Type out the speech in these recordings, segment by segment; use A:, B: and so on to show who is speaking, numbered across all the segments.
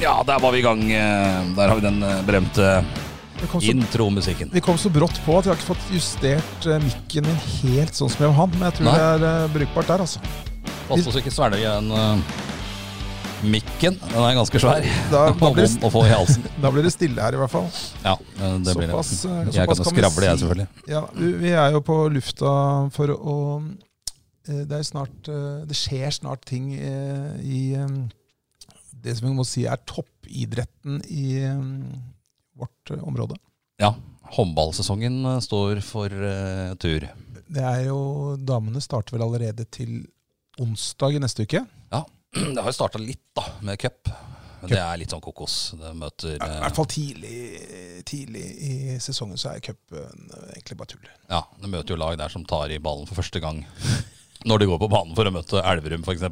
A: Ja, der var vi i gang. Eh, Der har vi den eh, berømte
B: Det kom, så,
A: intromusikken.
B: det kom så brått på at jeg har ikke fått justert eh, mikken min helt sånn som jeg vil ha den. Men jeg tror
A: Nei.
B: det er eh, brukbart der, altså.
A: Pass på så ikke svelger den eh, mikken. Den er ganske svær.
B: Da- da
A: Og
B: blir det-
A: vond å få i halsen.
B: Da blir det stille her, i hvert fall.
A: Ja, eh, det blir det.
B: Såpass, eh,
A: Jeg
B: såpass
A: kan jo
B: vi
A: skravle, jeg,
B: si.
A: selvfølgelig.
B: Ja, vi vi er jo på lufta for å eh, Det er snart eh, Det skjer snart ting eh, i eh, det som vi må si er toppidretten i eh, vårt eh, område.
A: Ja, håndballsesongen eh, står for eh, tur.
B: Det er jo Damene starter vel allerede til onsdag i neste uke.
A: Det har jo starta litt, da, med cup. Men det er litt sånn kokos. Det møter
B: I
A: eh,
B: hvert fall tidlig, tidlig i sesongen så er cupen eh, egentlig bare tull.
A: Ja, det møter jo lag der som tar i ballen for første gang. Når de går på banen for å møte Elverum, f.eks.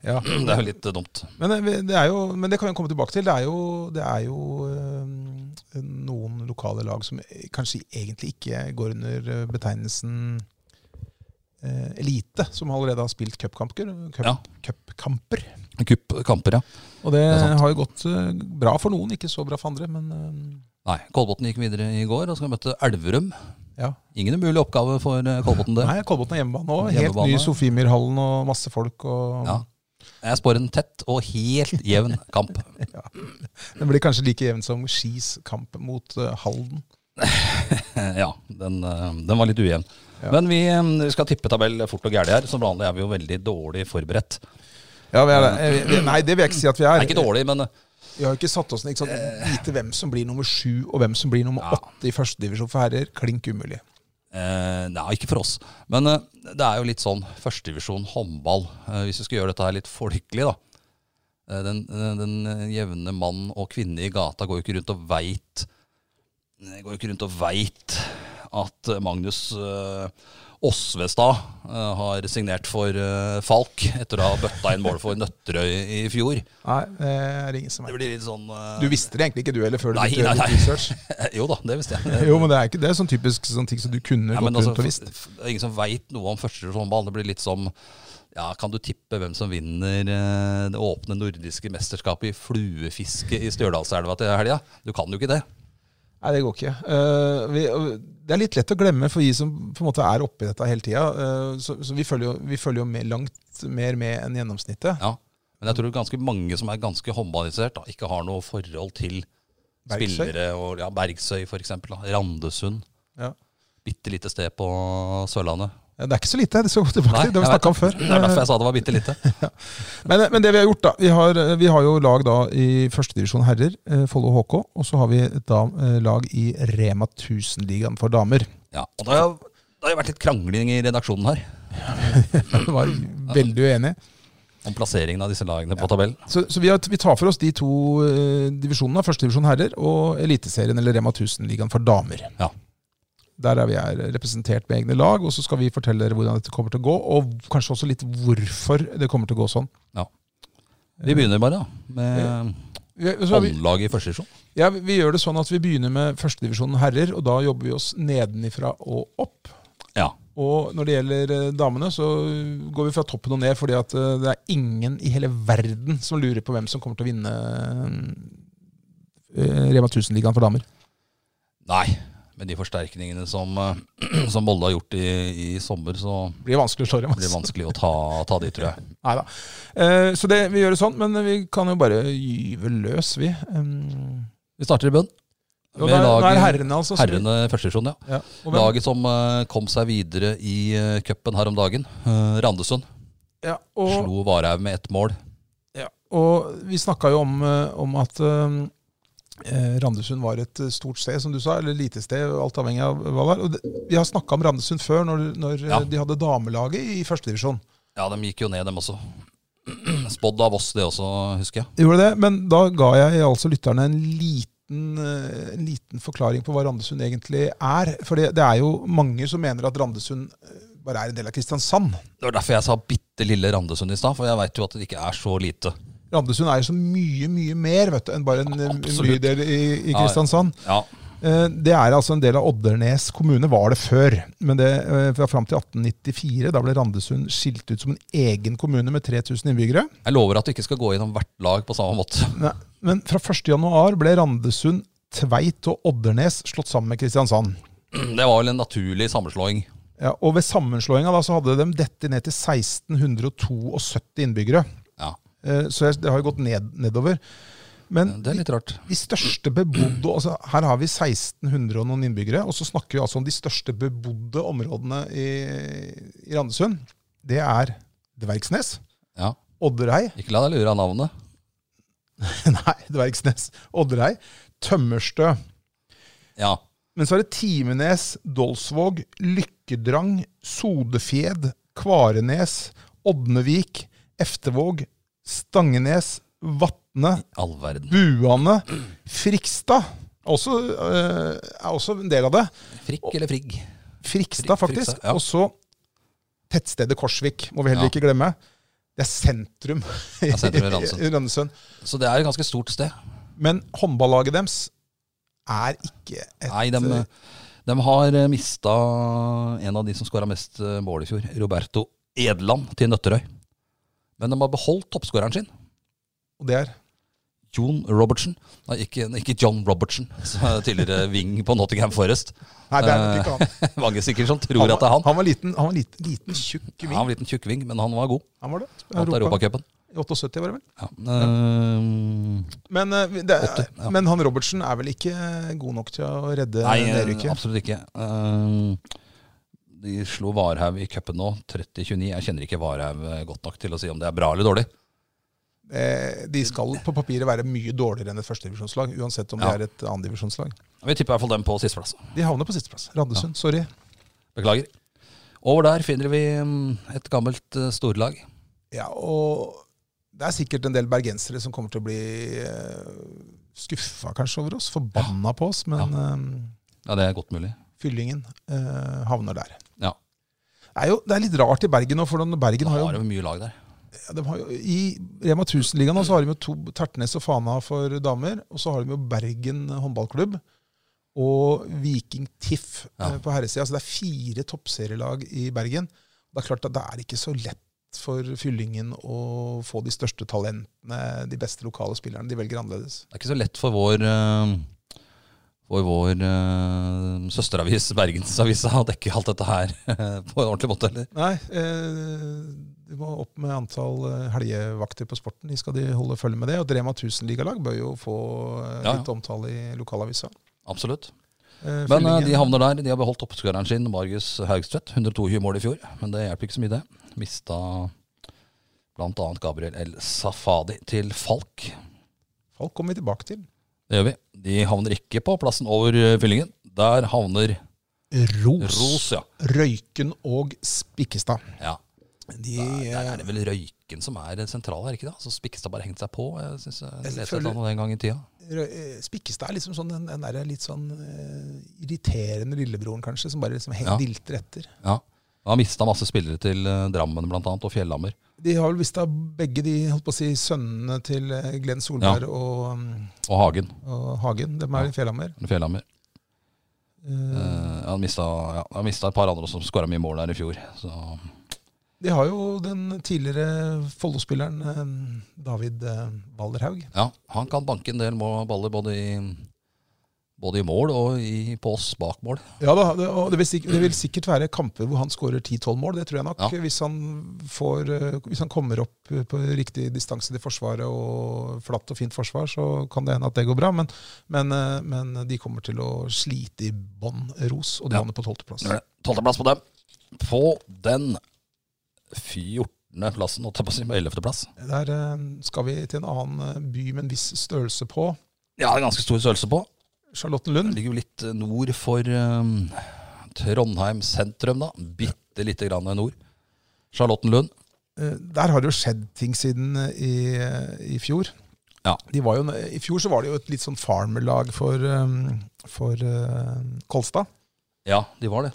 B: Ja.
A: Det er jo litt eh, dumt.
B: Men eh, vi- det, er jo, men det kan vi komme tilbake til. Det er jo, det er jo eh, noen lokale lag som eh, kanskje egentlig ikke går under eh, betegnelsen eh, elite, som allerede har spilt cupkamper. Cup,
A: Ja.
B: Cupkamper.
A: Kupp, kamper, ja.
B: Og det,
A: er sant.
B: har jo gått eh, bra for noen, ikke så bra for andre. Men eh,
A: Nei, Kolbotn gikk videre i går og skal møte Elverum.
B: ja.
A: Ingen umulig oppgave for eh, Kolbotn, det.
B: Nei, Kolbotn er hjemmebane nå. Helt
A: Hjemmebane.
B: ny Sofiemyrhallen og masse folk. Og
A: Ja. Jeg spår en tett og helt jevn kamp.
B: Den blir kanskje like jevn som Skis kamp mot eh, Halden.
A: Ja, den, eh, den var litt ujevn.
B: Ja.
A: Men vi eh, vi skal tippe tabell fort og gæli her. Som vanlig er vi jo veldig dårlig forberedt.
B: Ja, vi er det. Eh, vi- Nei, det vil jeg ikke si at vi er.
A: Nei, ikke dårlig, men eh,
B: Vi har jo ikke satt oss ned. ikke sant? Vite hvem som blir nummer sju, og hvem som blir nummer
A: Ja.
B: åtte i førstedivisjon for herrer. Klink umulig.
A: Eh, nei, ikke for oss. Men eh, det er jo litt sånn førstedivisjon håndball. Eh, hvis vi skal gjøre dette her litt folkelig, da. Eh, den, eh, den jevne mann og kvinne i gata går jo ikke rundt og veit eh, Går jo ikke rundt og veit at eh, Magnus eh, Osvestad eh, har signert for eh, Falk etter å ha bøtta inn mål for Nøtterøy i fjor. Det
B: Nei, det Eh, er ingen som er
A: blir litt sånn eh,
B: Du visste det egentlig ikke, du heller, før du
A: Nei,
B: begynte å
A: nei, nei.
B: gjøre litt research.
A: Jo da, det visste jeg.
B: Jo, men det er ikke det er sånn typisk sånn ting som du kunne
A: Ja,
B: gått
A: men altså,
B: rundt og visst.
A: f- det er ingen som veit noe om førstedivisjon håndball. Det blir litt som ja, Kan du tippe hvem som vinner eh, det åpne nordiske mesterskapet i fluefiske i Stjørdalselva til helga? Du kan jo ikke det.
B: Nei, det går ikke. Eh, vi, og det er litt lett å glemme for vi som på en måte er oppi dette hele tida. så så vi følger jo, vi følger jo med, langt mer med enn gjennomsnittet.
A: Ja. Men jeg tror ganske mange som er ganske håndballisert, da, ikke har noe forhold til
B: Bergsøy.
A: spillere. Og, ja, Bergsøy, f.eks. Randesund.
B: Ja.
A: Bitte lite sted på Sørlandet.
B: Ja, Det er ikke så lite, det skal gå tilbake til. Det har vi
A: jeg
B: snakka om
A: vet.
B: før. Eh,
A: Det er derfor jeg sa det var bitte lite.
B: Men, men det vi har gjort, da Vi har, eh, vi har jo lag da i førstedivisjon herrer, eh, Follo HK. Og så har vi et da, eh, lag i Rema 1000-ligaen for damer.
A: Ja, og det har, det har jo vært litt krangling i redaksjonen her
B: Jeg var veldig uenig.
A: om plasseringen av disse lagene på tabellen.
B: Så, så vi, har, vi tar for oss de to eh, divisjonene. Førstedivisjon herrer og Eliteserien eller Rema 1000-ligaen for damer.
A: Ja.
B: Der er vi er representert med egne lag, og så skal vi fortelle dere hvordan dette kommer til å gå. Og kanskje også litt hvorfor det kommer til å gå sånn.
A: Vi begynner bare da, med
B: Vi, så har vi,
A: håndlaget i første divisjon.
B: ja, vi- vi gjør det sånn at vi begynner med førstedivisjon herrer, og da jobber vi oss nedenifra og opp.
A: Ja.
B: Og når det gjelder eh, damene, så eh, går vi fra toppen og ned, fordi at eh, det er ingen i hele verden som lurer på hvem som kommer til å vinne eh, Rema 1000-ligaen for damer.
A: Nei, med de forsterkningene som, eh, som Molde har gjort i, i sommer, så
B: Det blir vanskelig å slå dem.
A: blir det
B: Altså.
A: vanskelig å ta, ta de, tror jeg.
B: Neida. Eh, Så det, vi gjør det sånn, men vi kan jo bare gyve løs, vi. Um,
A: Vi starter i bunn.
B: og
A: Med
B: det er,
A: laget-
B: det er herrene, altså. som-
A: Herrene i første divisjon, ja.
B: Ja. Og hvem-
A: Laget som eh, kom seg videre i eh, cupen her om dagen. eh, Randesund
B: Ja, og,
A: slo Varhaug med ett mål.
B: Ja, og vi snakka jo om, eh, om at eh, Randesund var et eh, stort sted, som du sa, eller lite sted, alt avhengig av hva det var. Og det, vi har snakka om Randesund før, når, når eh,
A: Ja.
B: de hadde damelaget i førstedivisjon.
A: Ja, de gikk jo ned, dem også. Spådd av oss, det også, husker jeg.
B: Gjorde det, men da ga jeg altså lytterne en liten, eh, en liten forklaring på hva Randesund egentlig er. For det, det er jo mange som mener at Randesund eh, bare er en del av Kristiansand.
A: Det var derfor jeg sa bitte lille Randesund i stad, for jeg veit jo at det ikke er så lite.
B: Randesund er jo så mye, mye mer vet du, enn bare en, en
A: Absolutt.
B: bydel i, i
A: Ja, ja.
B: Kristiansand.
A: Ja,
B: Eh, Det er altså en del av Oddernes kommune, var det før. Men det eh, var fram til 1894. Da ble Randesund skilt ut som en egen kommune med 3000 innbyggere.
A: Jeg lover at du ikke skal gå gjennom hvert lag på samme måte.
B: Nei, Men fra 1.1 ble Randesund, Tveit og Oddernes slått sammen med Kristiansand.
A: Det var vel en naturlig sammenslåing.
B: Ja, og ved sammenslåinga da, så hadde de dette ned til 1672 innbyggere.
A: Ja,
B: Eh, Så jeg- det har jo gått ned, nedover. Men
A: Det er litt rart.
B: De største bebodde altså Her har vi 1600 og noen innbyggere, og så snakker vi altså om de største bebodde områdene i, i Randesund. Det er Dvergsnes,
A: Ja.
B: Odderei
A: Ikke la deg lure av navnet.
B: Nei, Dvergsnes, Odderei, Tømmerstø.
A: Ja.
B: Men så er det Timenes, Dolsvåg, Lykkedrang, Sodefjed, Kvarenes, Odnevik, Eftevåg, Stangenes, Vatne,
A: All verden.
B: Buane, Frikstad også, eh, er også en del av det.
A: Frikk eller Frigg?
B: Frikstad,
A: Fri-
B: faktisk.
A: Frikstad, ja.
B: Og så tettstedet Korsvik, må vi heller
A: Ja.
B: ikke glemme. Det er sentrum i,
A: sentrum i Randesund.
B: i Randesund.
A: Så det er et ganske stort sted.
B: Men håndballaget deres er ikke et
A: Nei, de, de har mista en av de som skåra mest eh, mål i fjor, Roberto Edland, til Nøtterøy. Men de har beholdt toppskåreren sin,
B: Og det er
A: Jon Robertsen. Nei, ikke, ikke John Robertsen, som er tidligere wing på Nottingham Forest. Eh,
B: Nei, det er nok ikke han.
A: Mange sikkert som tror at det er han.
B: Han var liten, han var liten, liten tjukk
A: Ja,
B: ving.
A: han var en liten tjukkving, men han var god.
B: Han var det.
A: Vant Europacupen.
B: I 78, var det vel.
A: Ja. eh,
B: Men, eh, vi- det, er-
A: Åtte, ja.
B: men han Robertsen er vel ikke eh, god nok til å redde
A: Nei, eh,
B: nedrykket?
A: absolutt ikke. Eh, De slo Varhaug i cupen nå, 30-29. Jeg kjenner ikke Varhaug eh, godt nok til å si om det er bra eller dårlig.
B: Eh, De skal på papiret være mye dårligere enn et førstedivisjonslag, uansett om
A: Ja.
B: de er et annendivisjonslag.
A: Vi tipper i hvert fall dem på sisteplass.
B: De havner på sisteplass. Randesund, sorry.
A: Beklager. Over der finner vi mm, et gammelt eh, storlag.
B: Ja, og det er sikkert en del bergensere som kommer til å bli eh, skuffa kanskje over oss, forbanna på oss, men eh,
A: Ja, det er godt mulig.
B: fyllingen eh, havner der.
A: Ja.
B: Det er jo det er litt rart i Bergen nå, for den- Bergen
A: Nå
B: har
A: har
B: jo,
A: vi mye lag der.
B: ja, de har jo I Rema 1000-ligaen nå så har de jo to Tertnes og Fana for damer, og så har de jo Bergen håndballklubb. Og Viking TIFF
A: Ja.
B: eh, på herresida. Så det er fire toppserielag i Bergen. Det er klart at det er ikke så lett for fyllingen å få de største talentene, de beste lokale spillerne. De velger annerledes.
A: Det er ikke så lett for vår, eh, for vår eh, søsteravis Bergensavisa å dekke alt dette her på en ordentlig måte. Eller?
B: Nei, eh, du må opp med antall eh, helgevakter på sporten. De skal de holde følge med det. Og et Rema 1000-ligalag bør jo få eh,
A: Ja, ja.
B: litt omtale i lokalavisa.
A: Absolutt.
B: Eh,
A: Men eh,
B: Fyllingen-
A: de havner der. De har beholdt toppskåreren sin, Margus Haugstvedt. 122 mål i fjor, men det hjelper ikke så mye, det. Mista bl.a. Gabriel El Safadi til Falk.
B: Folk kommer vi tilbake til.
A: Det gjør vi. De havner ikke på plassen over eh, fyllingen. Der havner
B: Ros,
A: Ros, ja.
B: Røyken og Spikkestad.
A: ja.
B: De,
A: Der
B: eh,
A: er det vel Røyken som er den sentrale, er det ikke det? Så Spikkestad bare hengt seg på. Jeg synes eh, jeg leste et
B: føler-
A: eller annet den gang i tida.
B: Rø- eh, Spikkestad er liksom sånn den, den der litt sånn eh, irriterende lillebroren, kanskje, som bare liksom helt
A: Ja.
B: dilter etter.
A: Ja. Han har mista masse spillere til eh, Drammen blant annet, og Fjellhammer.
B: De har vel mista begge de holdt på å si, sønnene til eh, Glenn Solberg og, um,
A: Og Hagen.
B: og Hagen. De
A: Ja.
B: er i Fjellhammer.
A: Fjellhammer.
B: Eh,
A: Eh, han mista ja, han mistet et par andre som skåra mye mål der i fjor. Så
B: De har jo den tidligere Follo-spilleren eh, David eh, Walderhaug.
A: ja, han kan banke en del må- baller både i, både i mål og i, på oss bak mål.
B: Ja da, det, og det, vil sikkert, det vil sikkert være kamper hvor han skårer 10-12 mål, det tror jeg nok.
A: Ja.
B: Hvis, han får, eh, hvis han kommer opp eh, på riktig distanse til forsvaret og flatt og fint forsvar, så kan det hende at det går bra. Men, men, eh, men de kommer til å slite i bånn ros, og de
A: Ja.
B: lander på tolvteplass.
A: Tolvteplass på dem. På den 14. plassen, holdt jeg på å si, på 11. plass.
B: Der eh, skal vi til en annen eh, by med en viss størrelse på.
A: Ja, det er ganske stor størrelse på. Den
B: Charlottenlund.
A: ligger jo litt nord for eh, Trondheim sentrum, da. Bitte lite grann nord. Charlottenlund.
B: Eh, Der har det jo skjedd ting siden eh, i, i fjor.
A: Ja.
B: De var jo, I fjor så var det jo et litt sånn farmerlag for, eh, for eh, Kolstad.
A: Ja, de var det.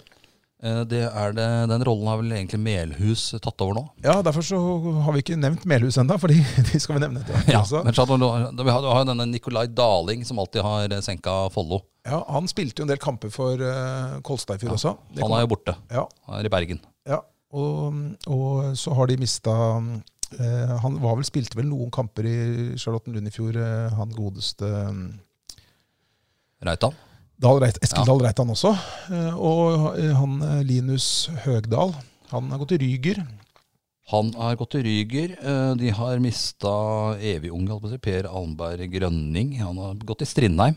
A: Eh, Det er det, den rollen har vel egentlig Melhus tatt over nå.
B: Ja, Derfor så har vi ikke nevnt Melhus ennå, for de skal vi nevne etter hvert.
A: Ja,
B: også.
A: men Chateau- du har du har jo denne Nicolai Daling som alltid har eh, senka Follo.
B: Ja, han spilte jo en del kamper for eh, Kolstad i fjor også. Det
A: Han
B: kan-
A: er jo borte.
B: ja,
A: Han er i Bergen.
B: ja. Og, og så har de mista eh, Han var vel, spilte vel noen kamper i Charlottenlund i fjor, eh, han godeste eh,
A: Reitan.
B: Dahl Reit, Eskil
A: Ja.
B: Dahl Reitan også. Eh, Og eh, han eh, Linus Høgdal. Han har gått til Ryger.
A: Han har gått til Ryger. eh, De har mista evig ung, holdt på å si, Per Almberg Grønning. Han har gått til Strindheim.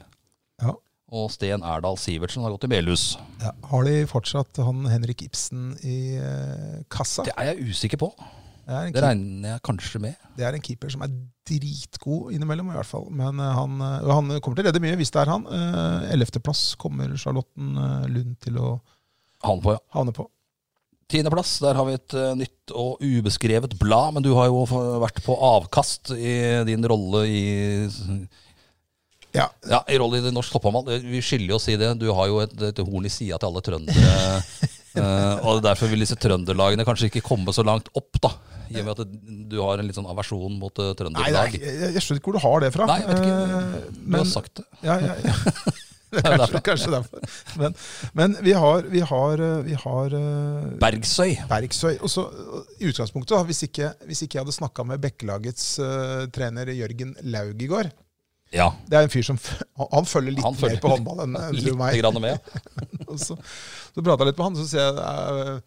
B: Ja.
A: Og Sten Erdal Sivertsen har gått til Melhus.
B: Ja, har de fortsatt han Henrik Ibsen i eh, kassa?
A: Det er jeg usikker på.
B: Det er, en
A: Det
B: keeper,
A: regner jeg kanskje med.
B: det er en keeper som er dritgod innimellom, i hvert fall. Men eh, han, eh, og han kommer til å redde mye, hvis det er han. Eh, Ellevteplass kommer Charlotten eh, Lund til å
A: Han på, ja.
B: havne på.
A: Tiendeplass, der har vi et eh, nytt og ubeskrevet blad. Men du har jo f- vært på avkast i din rolle i
B: Ja,
A: Ja, i rolle i det norsk topphandball. Det- Vi skylder jo å si det. Du har jo et, et horn i sida til alle trøndere. eh, og derfor vil disse trønderlagene kanskje ikke komme så langt opp, da. I og med at det- du har en litt sånn aversjon mot eh,
B: Nei, det er,
A: trønderlag.
B: ikke- jeg, jeg skjønner ikke hvor du har det fra.
A: Nei, jeg vet
B: Eh,
A: ikke. Du har
B: men-
A: sagt det.
B: Ja, ja, ja. Det
A: er
B: er kanskje, kanskje derfor. Men, men vi har, vi har, eh, vi har eh,
A: Bergsøy.
B: Bergsøy. Og så eh, I utgangspunktet, da, hvis ikke, hvis ikke jeg hadde snakka med Bekkelagets eh, trener Jørgen Laug i går
A: Ja.
B: Det er en fyr som f- han- Han følger litt
A: Han følger
B: mer på håndball enn enn du
A: Litt
B: og meg.
A: grann med.
B: Og så så prata jeg litt med han, så sier jeg eh,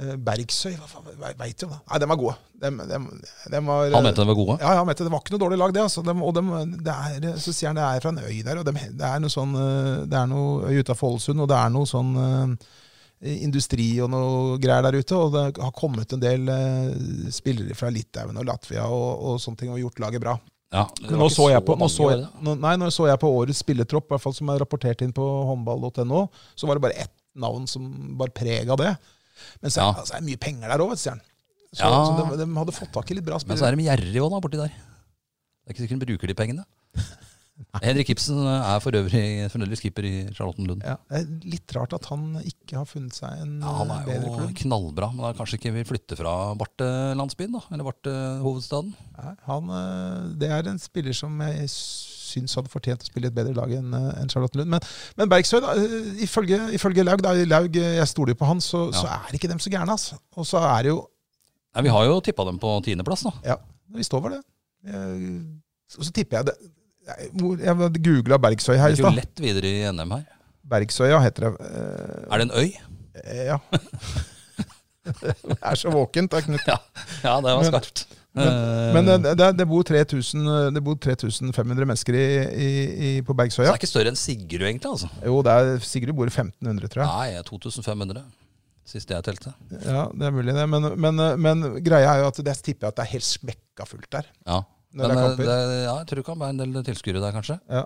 B: eh, Bergsøy, hva faen veit du om det? Nei, dem er gode. Dem, dem, dem var,
A: Han mente de var gode.
B: ja, ja, vet du, Det var ikke noe dårlig lag, det. altså. Dem, og dem, det er, så sier han det er fra en øy der, og dem, det er noe sånn eh, Det er noe øy utafor Ålesund, og det er noe sånn eh, industri og noe greier der ute. Og det har kommet en del eh, spillere fra Litauen og Latvia og, og sånne ting, og gjort laget bra.
A: Ja,
B: Nå så, jeg på, nå, så jeg, nå, nei, nå så jeg på årets spillertropp, i hvert fall som er rapportert inn på håndball.no, så var det bare ett navn som bar preg av det. Men så
A: Ja.
B: altså, det er mye penger der òg, vet du, sier han. Så,
A: Ja.
B: så de, de hadde fått tak i litt bra
A: Men så
B: spillere.
A: er de gjerrige òg, da, borti der. Det er ikke sikkert de bruker de pengene. Henrik Ibsen eh, er for øvrig fremdeles keeper i Charlottenlund.
B: Ja, det er litt rart at han ikke har funnet seg en
A: Ja, han
B: eh,
A: er
B: bedre
A: jo
B: klubb.
A: knallbra, men han kanskje ikke vil flytte fra Bartelandsbyen, da? Eller Bartehovedstaden?
B: Nei, Han, eh, det er en spiller som jeg syns hadde fortjent å spille i et bedre lag enn eh, enn Charlotte Lund. Men, men Bergsøy, da, eh, ifølge, ifølge Laug, da, Laug, eh, jeg stoler jo på han, så,
A: Ja.
B: så er ikke dem så gærne. Altså. Og så er det jo
A: Nei, vi har jo tippa dem på tiendeplass, da.
B: Ja, vi står for det. Eh, Og så tipper jeg det. Jeg, hvor- jeg googla Bergsøy her
A: Det
B: i
A: gikk jo
B: stad.
A: lett videre i NM her.
B: Bergsøya heter det. Eh,
A: Er det en øy?
B: eh, Ja. Det er så våkent. Det, er Knut.
A: Ja, det var
B: Men-
A: skarpt.
B: Men
A: Eh,
B: eh, det, det, bor 3000, det bor 3500 mennesker i, i, i,
A: så
B: på
A: det
B: Bergsøya.
A: er ikke større enn Sigrud, egentlig. altså.
B: Jo, det er, Sigrid bor i 1500, tror jeg.
A: Nei, 2500. Siste jeg telte.
B: Ja, Det er mulig, det. Men, men, eh, men greia er jo at det tipper jeg at det er helt smekka fullt der.
A: Ja.
B: Når
A: Men
B: det er
A: eh,
B: kamper.
A: det, ja, jeg tror det kan være en del tilskuere der, kanskje.
B: Ja.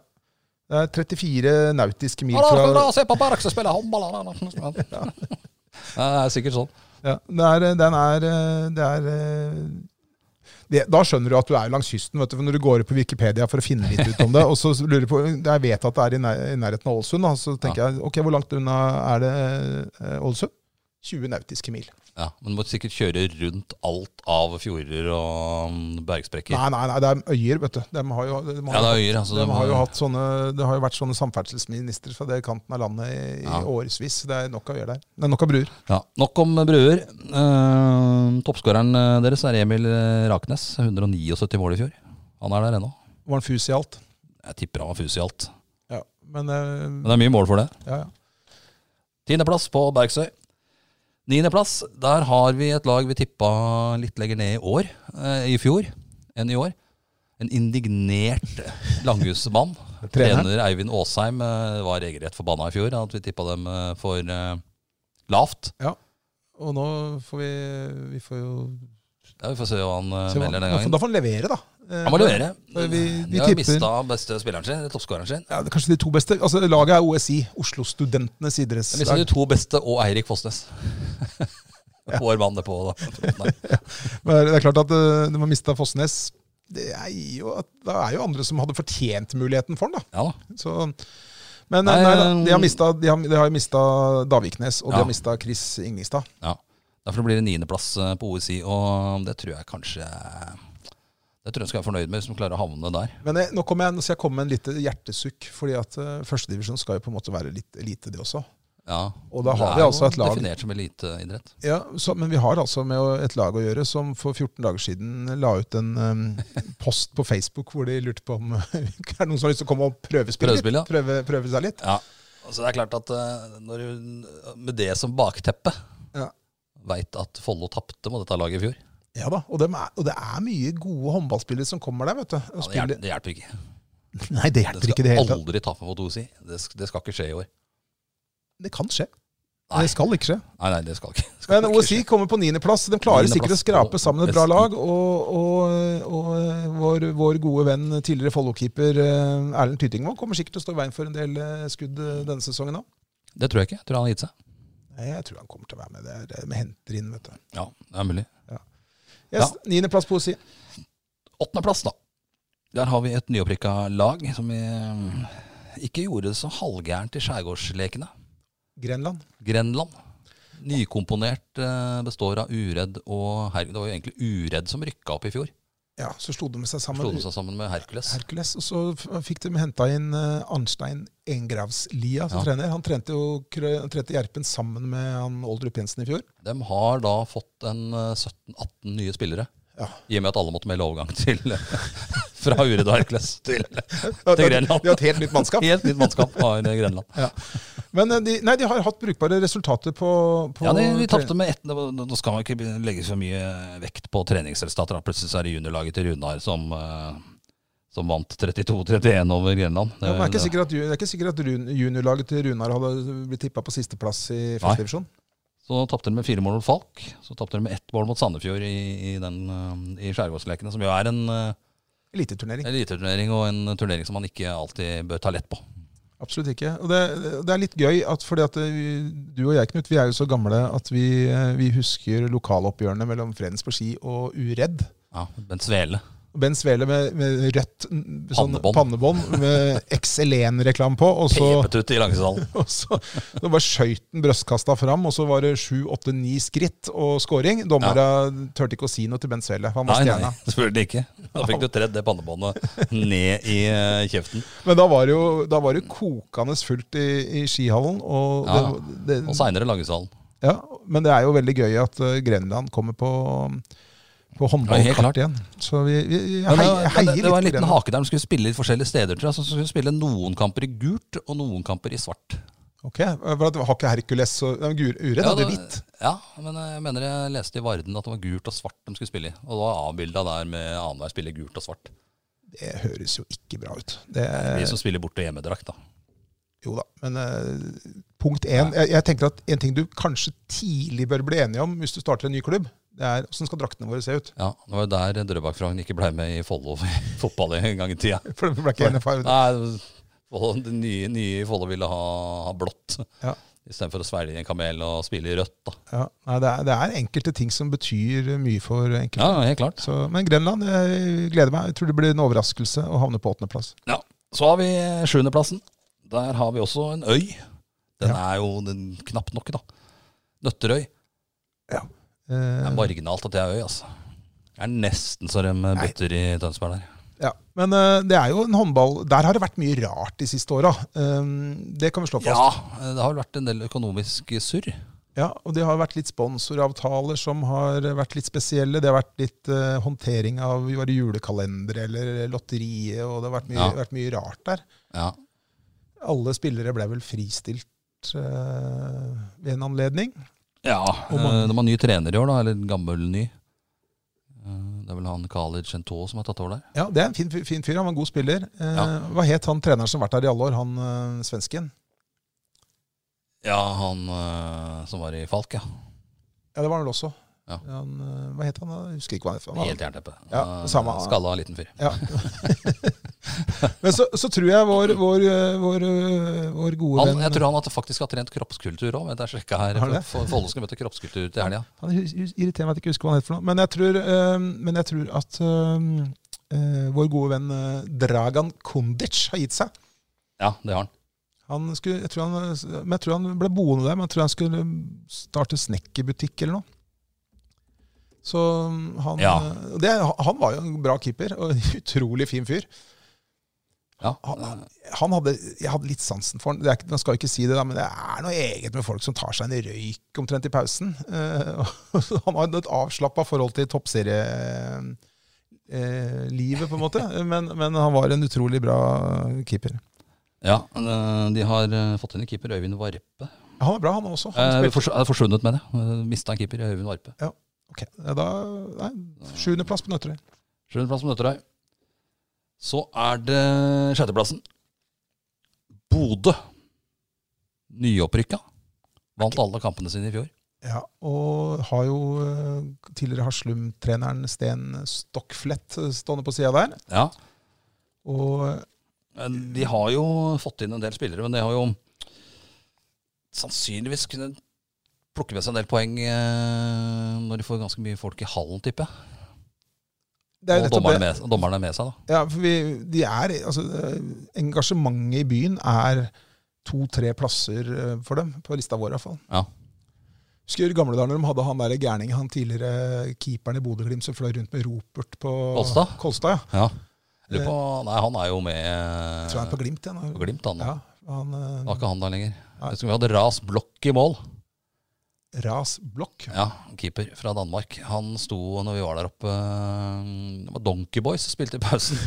B: Det er 34 nautiske mil
A: Ja, da skal du
B: fra
A: da se på Berg som spiller håndball! da, da, da, da. Ja, det er sikkert sånn.
B: Ja, det er, den er, eh, det er eh, det, Da skjønner du at du er langs kysten, vet du, for når du går på Wikipedia for å finne litt ut om det. og så lurer du på, Jeg vet at det er i, nær, i nærheten av Ålesund, da, så tenker jeg ok, hvor langt unna er det eh, Ålesund? 20 nautiske mil.
A: Ja, Men du må sikkert kjøre rundt alt av fjorder og mm, bergsprekker.
B: Nei, nei, nei, det er øyer, vet du. De har jo, de
A: Ja,
B: har,
A: det er øyer. Altså,
B: de
A: du må-
B: har jo hatt sånne, det har jo vært sånne samferdselsministre fra det kanten av landet i, i
A: Ja.
B: årevis. Det er nok av øyer der. Det er nok av bruer.
A: ja. Nok om bruer. Uh, Toppskåreren eh, deres er Emil eh, Raknes. 179 mål i fjor. Han er der ennå.
B: Var en fus i alt.
A: Jeg tipper han var fus i alt.
B: Ja, men, eh,
A: Men det er mye mål for det.
B: ja, ja.
A: Tiendeplass på Bergsøy. Niendeplass, der har vi et lag vi tippa litt lenger ned i år, eh, i fjor, enn i år. En indignert langhusmann.
B: Treneren.
A: Trener Eivind Aasheim eh, var regelrett forbanna i fjor at vi tippa dem eh, for eh, lavt.
B: Og nå får vi, vi får jo
A: Ja, vi får se hva han eh,
B: se hva-
A: melder
B: da
A: den
B: får-
A: gangen.
B: Da får han levere, da. Eh,
A: Han må levere.
B: Vi, vi
A: De har
B: tipper
A: mista beste spilleren sin, eller toppskåreren sin.
B: ja, det er Kanskje de to beste. Altså, laget er OSI, Oslo Studentenes
A: De mista
B: idrettslag.
A: de to beste og Eirik Fossnes. Vår mann det på da, fronten her.
B: Men Det er klart at eh, de har mista Fossnes. Det er jo, at- det er jo andre som hadde fortjent muligheten for den, da.
A: Ja da.
B: Så, Men
A: Nei,
B: nei, da, de har
A: eh,
B: mista, de har, de har mista Daviknes, og
A: Ja.
B: de har mista Chris Ingningstad.
A: Ja. Derfor blir det niendeplass eh, på OSI, og det tror jeg kanskje Det tror jeg skal være fornøyd med, hvis de klarer å havne der.
B: Men jeg, nå, kommer jeg, nå skal jeg komme med en lite hjertesukk, fordi at eh, førstedivisjon skal jo på en måte være litt elite, det også.
A: Ja.
B: Og da har
A: Det
B: vi
A: er
B: altså
A: jo
B: et lag-
A: Definert som eliteidrett.
B: Ja, så, Men vi har altså med å- et lag å gjøre som for 14 dager siden la ut en eh, post på Facebook hvor de lurte på om er det noen som har lyst til å komme og prøvespille
A: Prøvespille, ja.
B: litt? Prøve, prøve seg litt?
A: Ja. Altså, det er klart at eh, når du, med det som bakteppe
B: Ja.
A: veit at Follo tapte mot dette laget i fjor.
B: Ja da, og, dem er, og det er mye gode håndballspillere som kommer der, vet du. og
A: Ja, det, hjelper,
B: spiller-
A: det hjelper ikke.
B: Nei, det
A: Det
B: hjelper ikke i
A: skal
B: det hele tatt.
A: aldri tape mot OSI. Det, sk- det skal ikke skje i år.
B: Det kan skje.
A: Nei,
B: Det skal ikke skje.
A: nei, nei det skal ikke. Det skal
B: Men
A: ikke
B: OSI
A: skje.
B: kommer på niendeplass. De klarer sikkert å
A: Niendeplass
B: skrape
A: og
B: sammen et bra
A: best-
B: lag. Og, og, og eh, vår, vår gode venn, tidligere Follo-keeper eh, Erlend Tytingvold, kommer sikkert til å stå i veien for en del eh, skudd eh, denne sesongen òg.
A: Det tror jeg ikke. Jeg tror han har gitt seg.
B: Nei, Jeg tror han kommer til å være med. Det er det vi henter inn, vet du.
A: Ja, det er mulig.
B: Yes, Niendeplass på OSI.
A: Åttendeplass, da. Der har vi et nyopprykka lag som eh, ikke gjorde det så halvgærent i skjærgårdslekene.
B: Grenland.
A: Grenland. Nykomponert eh, består av Uredd og Hercules. Det var jo egentlig Uredd som rykka opp i fjor.
B: Ja, så slo de seg sammen.
A: Slo de seg sammen med Hercules.
B: Hercules, og så f- fikk de henta inn eh, Arnstein Engravslia som
A: Ja.
B: trener. Han trente jo Krø- han trente Gjerpen sammen med han Oldrup Jensen i fjor.
A: De har da fått en eh, 17-18 nye spillere.
B: Ja.
A: I og med at alle måtte melde overgang til fra Uredd og Hercules til
B: De
A: Grenland.
B: har et helt nytt mannskap.
A: helt nytt mannskap har Grenland.
B: Men eh, de, nei, de har hatt brukbare resultater på, på
A: Ja, de, de tapte med ett. det var- Nå skal man ikke be- legge så mye vekt på treningsresultater. da. Plutselig så er det juniorlaget til Runar som, eh, som vant 32-31 over Grenland. Eh,
B: Ja, men det, er ikke sikkert at, ju- det er ikke sikkert at Run- juniorlaget til Runar hadde blitt tippa på sisteplass i første divisjon.
A: Så tapte de med fire mål mot Falk. Så tapte de med ett mål mot Sandefjord i, i, den, eh, i Skjærgårdslekene, som jo er en eh,
B: Eliteturnering.
A: eliteturnering og en turnering som man ikke alltid bør ta lett på.
B: Absolutt ikke. Og det, det er litt gøy at fordi at eh, du og jeg, Knut, vi er jo så gamle at vi, eh, vi husker lokaloppgjørene mellom Fredensborg Ski og Uredd.
A: Ja, Bent Svele.
B: Og Ben Svele med, med rødt n- sånn,
A: Pannebånd.
B: pannebånd med XLN-reklame på. Og så,
A: Pepet ut i Langesalen.
B: og så, så bare skøyt den brystkasta fram, og så var det sju, åtte, ni skritt og scoring. Dommere turte ikke å si noe til Ben Svele. Han
A: Nei,
B: var
A: nei,
B: stjerna.
A: selvfølgelig ikke. Da fikk du tredd det pannebåndet ned i eh, kjeften.
B: Men da var det jo, da var det jo kokende fullt i, i skihallen. Og
A: Ja,
B: det,
A: Og
B: det,
A: seinere Langesalen.
B: ja, men det er jo veldig gøy at eh, Grenland kommer på på
A: helt klart.
B: håndballkart igjen. Så vi, vi, vi
A: Men
B: heier,
A: det,
B: heier
A: det, det var en
B: litt på
A: liten
B: Grenland.
A: hake der de skulle spille litt forskjellige steder. Tror jeg. Så de skulle spille noen kamper i gult og noen kamper i svart.
B: Ok, for at Har ikke Hercules og Nei, Gur- Uredd
A: Ja,
B: hadde
A: det-
B: hvitt.
A: Ja, men jeg mener jeg leste i Varden at det var gult og svart de skulle spille i. Og det var avbilda der med annenhver spiller gult og svart.
B: Det høres jo ikke bra ut. Det,
A: De som spiller borte hjemmedrakt, da.
B: jo da, men eh, punkt én jeg, jeg tenker at En ting du kanskje tidlig bør bli enige om hvis du starter en ny klubb, det er hvordan skal draktene våre se ut.
A: Ja, Det var jo der Drøbak-Frogn ikke blei med i Follo fotball en gang i tida.
B: For det ble ikke NFA.
A: Nei, Follo- de nye, nye i Follo ville ha, ha blått.
B: Ja.
A: Istedenfor å svelge en kamel og spille i rødt. da.
B: Ja, nei, det, er, det er enkelte ting som betyr mye for enkelte.
A: Ja, helt klart.
B: Så, men Grenland, jeg gleder meg. Jeg tror det blir en overraskelse å havne på åttendeplass.
A: Ja, Så har vi eh, sjuendeplassen. Der har vi også en øy. Den er jo den, knapt nok, da. Nøtterøy. Det
B: Eh,
A: er marginalt at det er øy, altså. Det er nesten så de butter i Tønsberg der.
B: ja. Men eh, det er jo en håndball Der har det vært mye rart de siste åra. Ehm, det kan vi slå fast.
A: Ja, eh, det har vel vært en del økonomisk surr.
B: Ja, og det har vært litt sponsoravtaler som har vært litt spesielle. Det har vært litt eh, håndtering av var det julekalendere eller lotteriet, og det har vært mye,
A: Ja.
B: vært mye rart der.
A: Ja.
B: Alle spillere ble vel fristilt eh, ved en anledning.
A: ja.
B: Og mange-
A: eh, De har ny trener i år, da. Eller gammel ny. Eh, Det er vel han Khaled Chento som har tatt over der.
B: Ja, det er en fin, fin fyr. Han var en god spiller. Eh,
A: Ja.
B: Hva het han treneren som har vært der i alle år, han eh, svensken?
A: Ja, han eh, som var i Falk, ja.
B: Ja, det var han vel også.
A: Ja.
B: Han, eh, hva het han? da? Jeg husker ikke hva han het. Han var-
A: Helt jernteppe.
B: Ja,
A: Eh,
B: samme-
A: Skalla liten fyr.
B: Ja. Men så, så tror jeg vår, vår, eh, vår, eh, vår gode
A: Han,
B: venn
A: jeg tror han at faktisk har trent kroppskultur òg. Jeg sjekka her.
B: Har han det?
A: for- for Follo skal møte kroppskultur til helga.
B: Han hus- hus- irriterer meg at jeg ikke husker hva han het for noe. Men jeg tror, eh, men jeg tror at eh, eh, vår gode venn eh, Dragan Kundic har gitt seg.
A: Ja, det har han.
B: Han skulle, jeg tror han, eh, men jeg tror han ble boende der, men jeg tror han skulle starte snekkerbutikk eller noe. Så mm, han, eh,
A: Ja.
B: og det, han var jo en bra keeper, og en utrolig fin fyr.
A: Ja.
B: Han, han hadde, jeg hadde litt sansen for han. Det er, ikke- man skal jo ikke si det, da, men det er noe eget med folk som tar seg en røyk omtrent i pausen. Eh, og han har et avslappa forhold til toppserielivet, eh, livet, på en måte. Men, men han var en utrolig bra keeper.
A: Ja, eh, De har eh, fått inn en keeper, Øyvind Varpe.
B: Han var bra, han også.
A: Eh,
B: Han spilte,
A: fors- eh, forsvunnet, mener jeg. Mista en keeper, Øyvind Varpe.
B: Ok, da, nei, Sjuendeplass på Nøtterøy.
A: Sjuendeplass på Nøtterøy. Så er det sjetteplassen. Bodø. Nyopprykka. Vant alle kampene sine i fjor.
B: Ja, og har jo eh, tidligere Haslum-treneren Sten Stokkflett eh, stående på sida der.
A: Ja.
B: Og
A: Men De har jo fått inn en del spillere, men de har jo sannsynligvis kunne plukke med seg en del poeng eh, når de får ganske mye folk i hallen, tipper jeg.
B: det er jo
A: Og
B: nettopp
A: dommerne
B: det.
A: med, dommerne er med seg, da.
B: Ja, for vi, de er, altså, eh, engasjementet i byen er to-tre plasser eh, for dem, på lista vår i hvert fall.
A: Ja.
B: Husker du i gamle dager når de hadde han der gærningen, han tidligere keeperen i Bodø-Glimt som fløy rundt med Ropert på
A: Kolstad?
B: Kolstad ja.
A: Ja. Lurer på, nei, han er jo med eh,
B: Jeg tror han er på Glimt igjen.
A: på Glimt, han. nå.
B: Ja, han, eh,
A: Det var ikke han der lenger.
B: Nei.
A: Jeg husker vi hadde Ras Blokk i mål.
B: Ras Blokk.
A: Ja, keeper fra Danmark. Han sto når vi var der oppe eh, Det var Donkey Boys som spilte i pausen.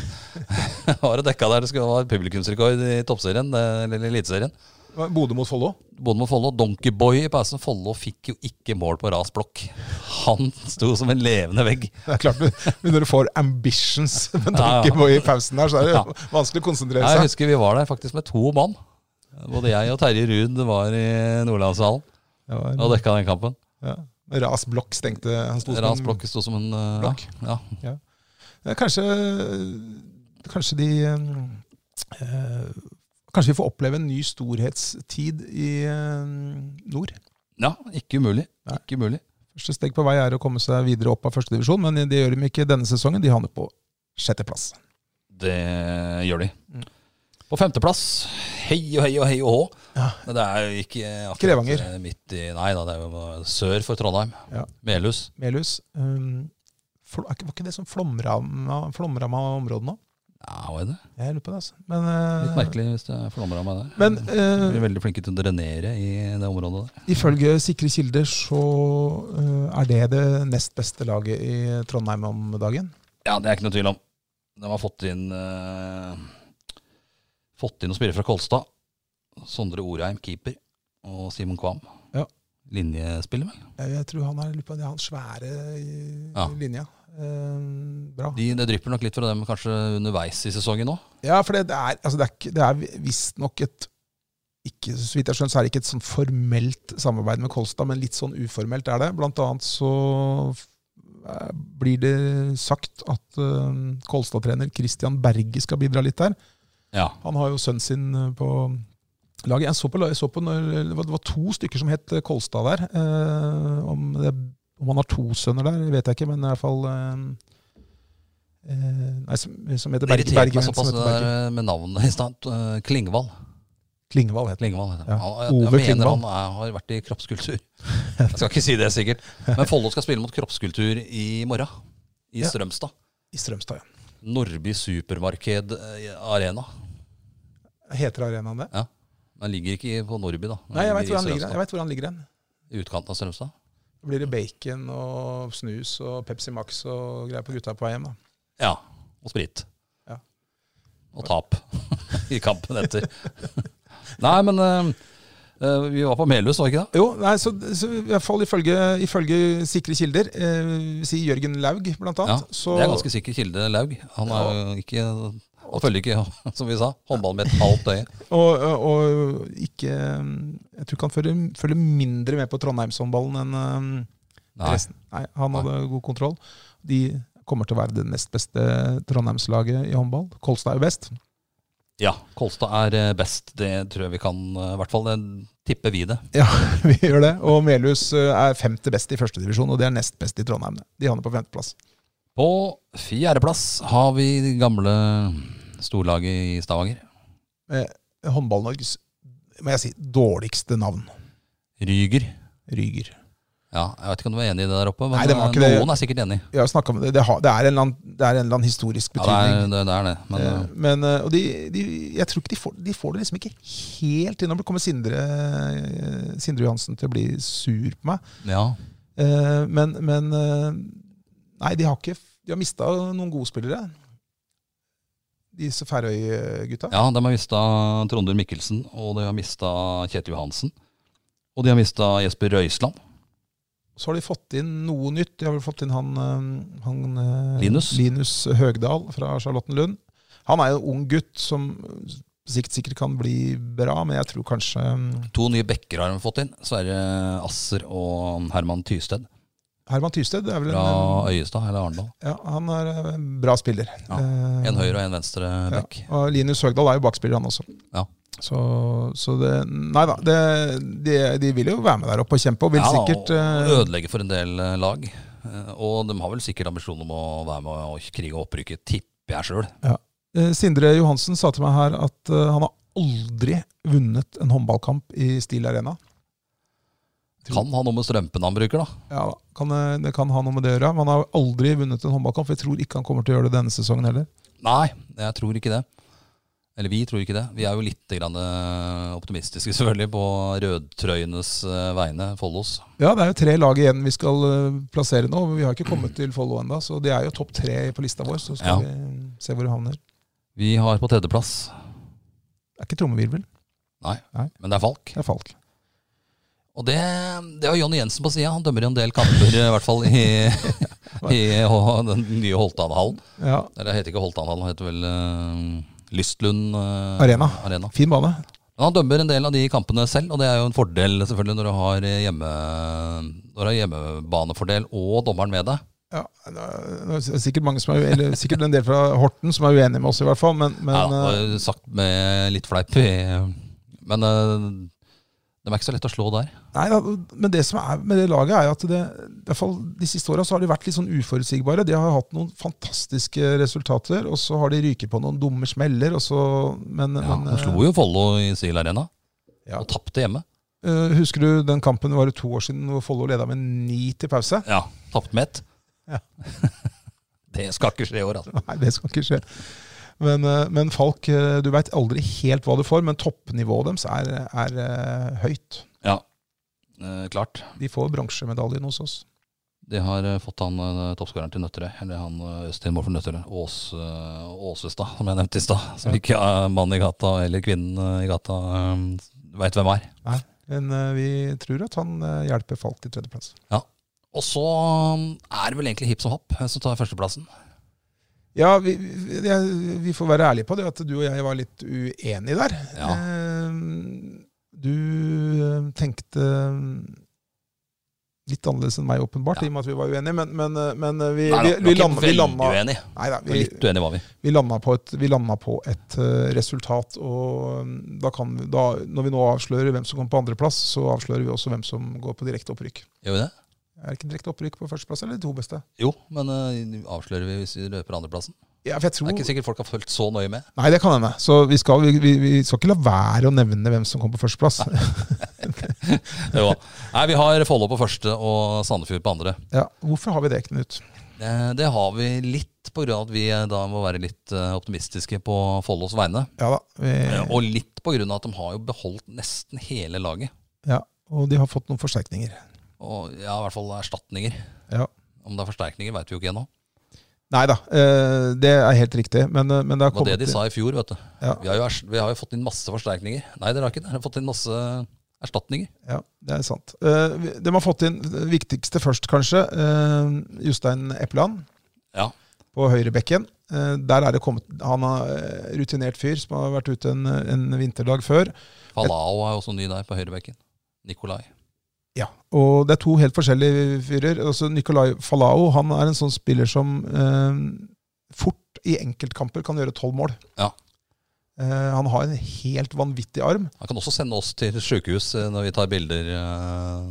A: var og dekka der. Det skulle være publikumsrekord i toppserien, eh, eller eliteserien.
B: Bodø mot Follo.
A: Både mot Follo og Donkeyboy i pausen. Follo fikk jo ikke mål på ras blokk. Han sto som en levende vegg.
B: Det er klart, men Når du får ambitions med
A: Ja, ja.
B: tanke på i pausen der, så er det
A: Ja.
B: vanskelig å konsentrere
A: Jeg
B: seg.
A: husker vi var der faktisk med to mann. Både jeg og Terje Ruud var i Nordlandshallen
B: Det var-
A: og dekka den kampen.
B: ja. Ras Blokk stengte han sto som
A: Ras
B: en-
A: blokk sto som en eh,
B: Blokk.
A: Ja,
B: Ja, Eh, Kanskje, kanskje de eh, Kanskje vi får oppleve en ny storhetstid i eh, nord.
A: ja. ja, ikke umulig.
B: Nei.
A: Ikke umulig.
B: Første steg på vei er å komme seg videre opp av førstedivisjon, men det gjør de ikke denne sesongen. De havner på sjetteplass.
A: Det gjør de.
B: Mm.
A: På femteplass, hei og hei og hei og hå.
B: Ja.
A: Men det er jo ikke akkurat eh,
B: Krevanger.
A: midt i Nei da, det er jo sør for Trondheim.
B: Ja.
A: Melhus.
B: Melhus, eh, fl- er ikke- var ikke det som flomramma, flomramma området nå?
A: Ja, hva er det?
B: Jeg lurer på det, altså. Men, eh,
A: Litt merkelig hvis det flommer av meg der.
B: Men
A: de
B: eh,
A: blir veldig flinke til å drenere i det området der.
B: ifølge sikre kilder så eh, er det det nest beste laget i Trondheim om dagen.
A: Ja, det er ikke noe tvil om. De har fått inn eh, Fått inn noen spillere fra Kolstad. Sondre Orheim, keeper. Og Simon Kvam.
B: Ja.
A: Linjespiller, vel.
B: Jeg, jeg tror han er, jeg lurer på, det er han svære i
A: Ja.
B: i linja. Eh, bra.
A: De, det drypper nok litt fra dem kanskje underveis i sesongen nå.
B: Ja, for det, det er, altså det er, ikke- det er visstnok et ikke, så vidt jeg skjønner, så er det ikke et sånn formelt samarbeid med Kolstad, men litt sånn uformelt er det. Blant annet så eh, blir det sagt at eh, Kolstad-trener Christian Berge skal bidra litt der.
A: Ja.
B: Han har jo sønnen sin eh, på laget. Jeg så på, la- jeg så på når, det, var, det var to stykker som het eh, Kolstad der. Eh, om, det, om han har to sønner der, vet jeg ikke, men i hvert fall eh, eh, Nei, som, som heter
A: Det
B: Berge.
A: irriterte
B: Berge,
A: meg
B: som
A: såpass eh.
B: heter
A: det
B: Berge.
A: der med navnet i stad. Eh, Klingvall.
B: Klingvall heter
A: Klingvall heter
B: Ja,
A: han. Han- jeg-
B: Ove
A: Jeg mener
B: Klingvall.
A: han er, har vært i kroppskultur. Jeg skal ikke si det sikkert. Men Follo skal spille mot kroppskultur i morgen. I
B: Ja.
A: Strømstad.
B: I Strømstad, ja.
A: Nordby supermarked eh, arena.
B: Heter arenaen det?
A: Den ligger ikke på Nordby, da. Den
B: Nei, jeg veit hvor han
A: i
B: ligger.
A: Strømstad.
B: Jeg vet hvor han ligger hen.
A: I utkanten av Strømstad.
B: Blir det bacon og snus og Pepsi Max og greier på gutta på vei hjem, da.
A: Ja. Og sprit.
B: Ja.
A: Og tap i kampen etter. Nei, men eh, eh, vi var på Melhus, var vi ikke det?
B: Jo, nei, så, så i hvert fall ifølge, ifølge sikre kilder, eh, sier Jørgen Laug blant
A: Ja,
B: annet, så
A: Det er ganske sikker kilde, Laug. Han er jo ikke Han følger ikke, som vi sa, håndballen med et halvt øye.
B: Og, øh, og, og ikke øh, Jeg tror ikke han følger, følger mindre med på Trondheimshåndballen enn eh,
A: Nei.
B: resten. Nei, han hadde god kontroll. De kommer til å være det nest beste Trondheimslaget i håndball. Kolstad er jo best.
A: Ja, Kolstad er eh, best. Det tror jeg vi kan eh, I hvert fall eh, tipper vi det.
B: Ja, vi gjør det. Og Melhus eh, er femte best i førstedivisjon, og det er nest best i Trondheim. det. De havner på femteplass.
A: På fjerdeplass har vi det gamle storlaget i Stavanger.
B: Eh, Håndball-Norges må jeg si, dårligste navn.
A: Ryger.
B: Ryger.
A: Ja, jeg vet ikke om du var enig i det der oppe, men
B: Nei, det var ikke
A: eh,
B: det.
A: noen er sikkert enig.
B: Jeg har snakket om det. Det, har, det, er, en eller annen, det er en eller annen historisk
A: Ja, det
B: betydning.
A: er det. det, er det. Men
B: Eh, Men, eh, og de, de, jeg tror ikke de får, de får det liksom ikke helt inn. Nå kommer Sindre, eh, Sindre Johansen til å bli sur på meg.
A: eh, ja.
B: Eh, Men, men eh, Nei, de har ikke De har mista noen gode spillere. Disse Færøy-gutta.
A: ja, de har mista Tronder Mikkelsen, og de har mista Kjetil Johansen. Og de har mista Jesper Røisland.
B: Så har de fått inn noe nytt. De har vel fått inn han, eh, han eh,
A: Linus.
B: Høgdal fra Charlottenlund. Han er jo en ung gutt som på sikt sikkert kan bli bra, men jeg tror kanskje mm,
A: To nye backer har de fått inn. Sverre Asser og Herman Tysted
B: Herman Tysted er vel en,
A: fra Øyestad eller Arendal.
B: Ja, han er en bra spiller.
A: Ja,
B: Eh,
A: En høyre og en venstre back.
B: Ja, og Linus Høgdahl er jo bakspiller, han også.
A: Ja.
B: Så, så det Nei da, det, de, de vil jo være med der oppe og kjempe, og vil
A: Ja,
B: sikkert eh,
A: og ødelegge for en del eh, lag. Eh, Og de har vel sikkert ambisjon om å være med og krige og opprykke, tipper jeg sjøl.
B: eh, Sindre Johansen sa til meg her at eh, han har aldri vunnet en håndballkamp i Steel Arena.
A: Kan ha noe med strømpen han bruker, da.
B: Ja, da, kan, eh, det kan ha noe med det å gjøre. Men han har aldri vunnet en håndballkamp. for Jeg tror ikke han kommer til å gjøre det denne sesongen heller.
A: Nei, jeg tror ikke det. Eller vi tror ikke det. Vi er jo litt grann eh, optimistiske selvfølgelig på rødtrøyenes eh, vegne, Follos.
B: Ja, det er jo tre lag igjen vi skal eh, plassere nå. men Vi har ikke kommet til Follo ennå, så de er jo topp tre på lista vår. Så
A: Ja.
B: skal vi se hvor de havner.
A: Vi har på tredjeplass,
B: Det er ikke trommevirvel,
A: men det er Falk.
B: det er Falk.
A: Og det, det har Jonny Jensen på sida. Han dømmer jo en del kamper, i hvert fall i, i H- den nye Holtanhallen.
B: Ja,
A: Eller det heter ikke Holtanhallen, det heter vel eh, Lystlund eh,
B: Arena.
A: Arena.
B: Fin bane.
A: Men han dømmer en del av de kampene selv, og det er jo en fordel selvfølgelig når du har, hjemme, når du har hjemmebanefordel og dommeren med deg.
B: Ja, det er sikkert, mange som er, eller sikkert en del fra Horten som er uenige med oss, i hvert fall. Men, men
A: Ja,
B: eh,
A: det var sagt med litt fleip. eh, Men eh, de er ikke så lett å slå der.
B: nei, da, men det som er med det laget, er jo at det, i hvert fall de siste åra har de vært litt sånn uforutsigbare. De har hatt noen fantastiske resultater, og så har de ryket på noen dumme smeller. Og så, men,
A: Ja,
B: men,
A: de
B: eh,
A: slo jo Follo i Sil Arena,
B: Ja.
A: og tapte hjemme.
B: eh, Husker du den kampen det var to år siden hvor Follo leda med ni til pause?
A: Ja, tapt med ett.
B: Ja.
A: det skal ikke skje i år, altså.
B: Nei, det skal ikke skje. Men, eh, men Falk, eh, du veit aldri helt hva du får, men toppnivået deres er, er eh, høyt.
A: Ja, eh, klart.
B: De får bronsemedaljen hos oss.
A: De har eh, fått han eh, toppskåreren til Nøtterøy, eller han eh, Øystein Morten Nøtterøy, Ås, eh, Åsestad, som jeg nevnte i stad. Som
B: Ja.
A: ikke eh, mannen i gata eller kvinnen eh, i gata eh, veit hvem er.
B: Men eh, vi tror at han eh, hjelper Falk til tredjeplass.
A: Og så eh, er det vel egentlig hipp som happ eh, som tar førsteplassen.
B: Ja, vi, vi, jeg- vi får være ærlige på det, at du og jeg var litt uenige der.
A: Ja.
B: Eh, Du eh, tenkte litt annerledes enn meg, åpenbart,
A: Ja.
B: i og med at vi var uenige. Men, men, eh, men eh, vi,
A: Nei da,
B: vi, vi,
A: var ikke
B: landa, vi,
A: veldig
B: landa,
A: uenig.
B: neida,
A: Men
B: vi,
A: Litt uenig var vi.
B: vi landa på et, vi landa på et eh, resultat. Og mm, da kan, vi- da, når vi nå avslører hvem som kommer på andreplass, så avslører vi også hvem som går på direkte opprykk.
A: Gjør vi det?
B: Er det ikke direkte opprykk på førsteplass, eller de to beste?
A: Jo, men eh, avslører vi hvis vi røper andreplassen?
B: Ja, for jeg
A: Det
B: tror...
A: er ikke sikkert folk har fulgt så nøye med.
B: Nei, det kan hende. Så vi skal, vi, vi, vi skal ikke la være å nevne hvem som kom på førsteplass.
A: Jo. Nei, vi har Follo på første og Sandefjord på andre.
B: Ja, hvorfor har vi det, Knut?
A: Eh, Det har vi litt på grunn av at vi eh, da må være litt eh, optimistiske på Follos vegne.
B: Ja da. Vi,
A: Eh, Og litt på grunn av at de har jo beholdt nesten hele laget.
B: ja, og de har fått noen forsterkninger.
A: Og ja, i hvert fall erstatninger.
B: Ja.
A: Om det er forsterkninger, veit vi jo ikke ennå.
B: Nei da, eh, det er helt riktig. Men, eh, men det har
A: Det var det
B: kommet
A: de sa i fjor, vet du.
B: Ja,
A: Vi har jo, ers- vi har jo fått inn masse forsterkninger. Nei, dere har ikke det. Dere har fått inn masse erstatninger.
B: ja, det er sant. Eh, vi- de har fått inn det viktigste først, kanskje. Eh, Jostein Eppeland
A: Ja.
B: på høyrebekken. Eh, der er det kommet Han er eh, rutinert fyr som har vært ute en, en vinterdag før.
A: Falao er også ny der på høyrebekken. Nikolai.
B: Ja, og det er to helt forskjellige fyrer. Altså Nicolay Falao han er en sånn spiller som eh, fort i enkeltkamper kan gjøre tolv mål.
A: Ja.
B: Eh, han har en helt vanvittig arm.
A: Han kan også sende oss til sjukehus eh, når vi tar bilder eh,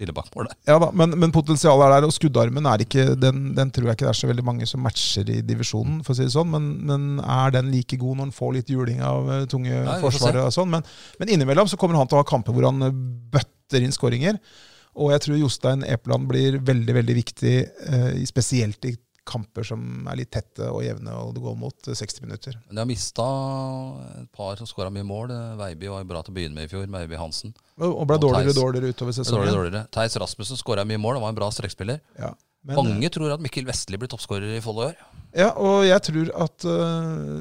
A: billedbakmålet.
B: Ja da, men, men potensialet er der, og skuddarmen er ikke, den, den tror jeg ikke det er så veldig mange som matcher i divisjonen, for å si det sånn. Men, men er den like god når han får litt juling av eh, tunge
A: vi får
B: forsvarere og sånn? Men, men innimellom så kommer han til å ha kamper hvor han eh, bøtter inn skåringer. Og jeg tror Jostein Epeland blir veldig, veldig viktig, eh, i- spesielt i kamper som er litt tette og jevne, og det går mot eh, 60 minutter.
A: Men de har mista et par som skåra mye mål. Eh, Veiby var jo bra til å begynne med i fjor. Veiby Hansen.
B: Og, og ble
A: Og
B: dårligere og
A: Theis.
B: dårligere utover
A: Det er Dårligere,
B: sesongen.
A: dårligere. Theis Rasmussen skåra mye mål og var en bra strekspiller.
B: Ja. Men, eh,
A: Mange tror at Mikkel Vestli blir toppskårer i Follo i år.
B: Ja, og jeg tror at øh,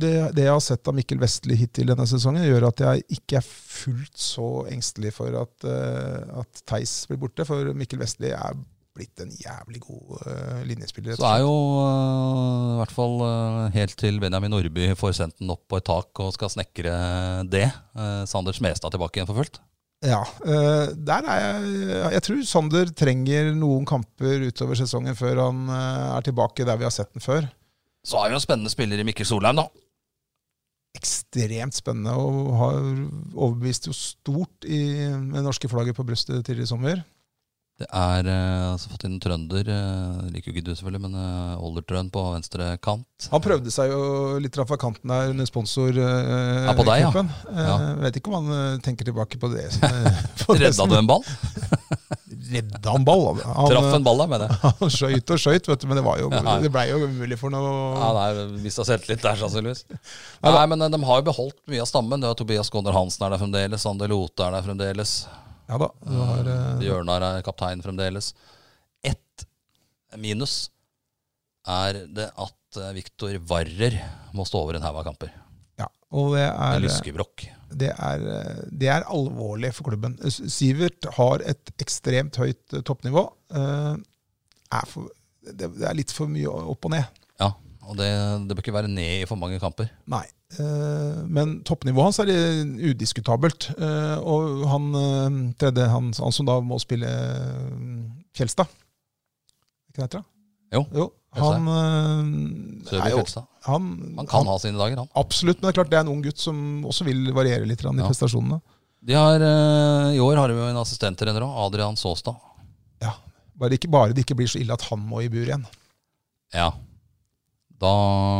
B: det, det jeg har sett av Mikkel Vestli hittil denne sesongen, gjør at jeg ikke er fullt så engstelig for at, øh, at Theis blir borte. For Mikkel Vestli er blitt en jævlig god øh, linjespiller. rett
A: Så
B: og
A: er
B: slett.
A: jo øh, i hvert fall øh, helt til Benjamin Nordby får sendt den opp på et tak og skal snekre det. øh, Sander Smestad tilbake igjen for fullt.
B: Ja, øh, der er jeg Jeg tror Sander trenger noen kamper utover sesongen før han øh, er tilbake der vi har sett den før.
A: Så er vi jo en spennende spiller i Mikkel Solheim, da.
B: Ekstremt spennende, og har overbevist jo stort i, med det norske flagget på brystet tidligere i sommer.
A: Det er øh, altså fått inn en trønder. øh, liker jo ikke du, selvfølgelig, men øh, Oldertrøen på venstre kant.
B: Han prøvde seg jo litt fra kanten der under sponsor eh,
A: Ja, på deg, ja.
B: cupen. Eh,
A: Ja.
B: Vet ikke om han eh, tenker tilbake på det. eh, på det
A: Redda
B: som-
A: du en ball?
B: Redda han ball? da. Han,
A: Traff en ball, da, mener jeg.
B: eh, han skøyt og skøyt, vet du, men det, var jo,
A: Ja.
B: det ble jo umulig for noe
A: Ja, nei, Mista selvtillit der, sannsynligvis.
B: Ja,
A: Nei, men øh, de har jo beholdt mye av stammen. Det er Tobias Gondor Hansen er der fremdeles. Sander Lote er der fremdeles.
B: Ja da. Du
A: Mm,
B: har, eh,
A: Bjørnar er kaptein fremdeles. Ett minus er det at eh, Viktor Varrer må stå over en haug av kamper.
B: ja. Og det
A: Med
B: er, eh,
A: lyskebrokk.
B: det, er, eh, det er alvorlig for klubben. S- Sivert har et ekstremt høyt eh, toppnivå. Eh, er for, det, det er litt for mye opp og ned.
A: Ja, og det, det bør ikke være ned i for mange kamper.
B: Nei. eh, Men toppnivået hans er eh, udiskutabelt. Eh, Og han eh, tredje, han, han som da må spille eh, Fjelstad Ikke det heter det?
A: Jo,
B: Han, eh, er
A: Sørby
B: jo,
A: Fjelstad.
B: han,
A: Han kan ha sine dager, han.
B: Absolutt, men det er klart det er en ung gutt som også vil variere litt grann i
A: Ja.
B: prestasjonene.
A: De har, eh, I år har de jo en assistenttrener òg, Adrian Saastad.
B: Ja, bare, ikke, bare det ikke blir så ille at han må i bur igjen.
A: Ja. Da,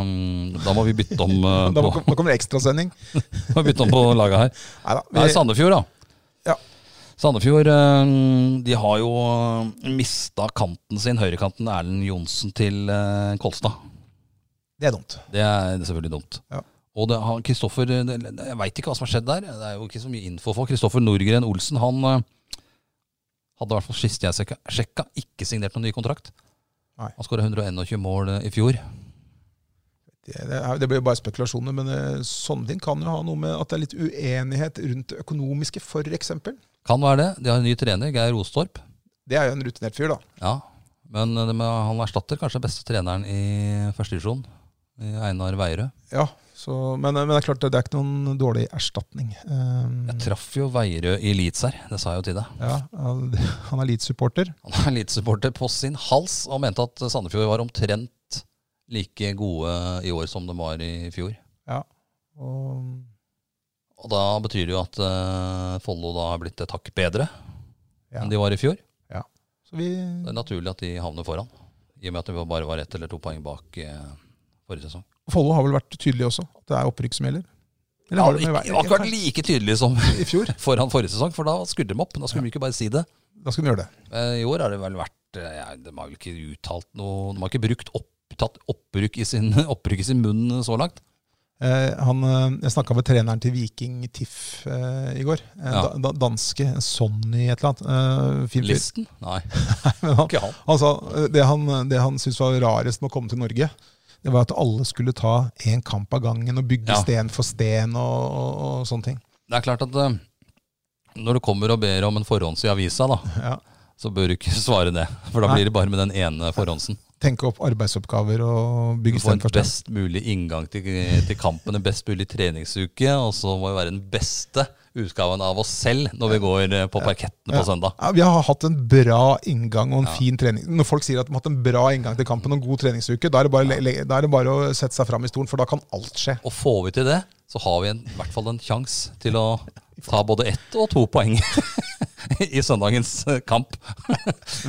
A: mm, da må vi bytte om, eh,
B: Da må,
A: på,
B: nå kommer det ekstrasending.
A: må bytte om på laget her.
B: Neida,
A: Det er
B: vi-
A: Sandefjord, da.
B: Ja.
A: Sandefjord eh, de har jo mista kanten sin, høyrekanten Erlend Johnsen, til eh, Kolstad.
B: det er dumt.
A: Det er selvfølgelig dumt.
B: Ja.
A: Og det, han, Kristoffer, det, jeg veit ikke hva som har skjedd der. Det er jo ikke så mye info for. Kristoffer Norgren Olsen han eh, hadde i hvert fall sist jeg sjekka, sjekka ikke signert noen ny kontrakt.
B: Nei.
A: Han skåra 121 mål eh, i fjor.
B: Det, det, er, det blir jo bare spekulasjoner, men eh, sånne ting kan jo ha noe med at det er litt uenighet rundt det økonomiske, f.eks.
A: Kan være det. De har en ny trener, Geir Ostorp.
B: Det er jo en rutinert fyr, da.
A: Ja, men eh, det med, han erstatter kanskje beste treneren i første divisjon, i Einar Veierød.
B: Ja, så, men, men det er klart det er ikke noen dårlig erstatning. Um,
A: Jeg traff jo Veierød i Leeds her, det sa jeg jo til deg.
B: ja, han- han er Leeds-supporter.
A: Han er Leeds-supporter på sin hals og mente at Sandefjord var omtrent like gode i år som de var i fjor.
B: og-
A: Og da betyr det jo at eh, Follo da har blitt et hakk bedre
B: Ja.
A: enn de var i fjor.
B: Så vi
A: Det er naturlig at de havner foran, i og med at de bare var ett eller to poeng bak eh, forrige sesong.
B: Follo har vel vært tydelige også. at Det er opprykk som gjelder. Eller
A: Ja,
B: har
A: det
B: de
A: var
B: med
A: ikke vært like tydelig som
B: i fjor?
A: foran forrige sesong, for da skrudde de opp. Da skulle de ikke bare si det.
B: Da skal de gjøre det.
A: Eh, I år har det vel vært eh, ja, De har vel ikke uttalt noe De har ikke brukt opp, tatt oppbruk i sin, oppbruk i sin munn eh, så langt.
B: Eh, han, eh, jeg snakka med treneren til Viking Tiff eh, i går. Eh,
A: Ja.
B: da, da, danske Sonny et eller annet. Eh, fin fyr.
A: Listen? Nei,
B: Men han,
A: ikke han.
B: Han sa, eh, det han, det han syntes var rarest med å komme til Norge, det var at alle skulle ta én kamp av gangen og bygge
A: Ja.
B: sten for sten og, og, og sånne ting.
A: Det er klart at eh, når du kommer og ber om en forhånds i avisa, da,
B: Ja.
A: så bør du ikke svare det. For da
B: Nei.
A: blir det bare med den ene forhåndsen.
B: Tenke opp arbeidsoppgaver og
A: Du
B: bygge
A: får
B: sten
A: en
B: for sten.
A: best mulig inngang til, til kampen, en best mulig treningsuke, og så må vi være den beste utgaven av oss selv når vi går eh, på parkettene på
B: Ja.
A: søndag.
B: Ja, vi har hatt en bra inngang og en
A: Ja.
B: fin trening. Når folk sier at de har hatt en bra inngang til kampen og en god treningsuke, da er det bare, le- le- da er det bare å sette seg fram i stolen, for da kan alt skje.
A: Og får vi til det, så har vi en, i hvert fall en sjanse til å ta både ett og to poeng i søndagens eh, kamp.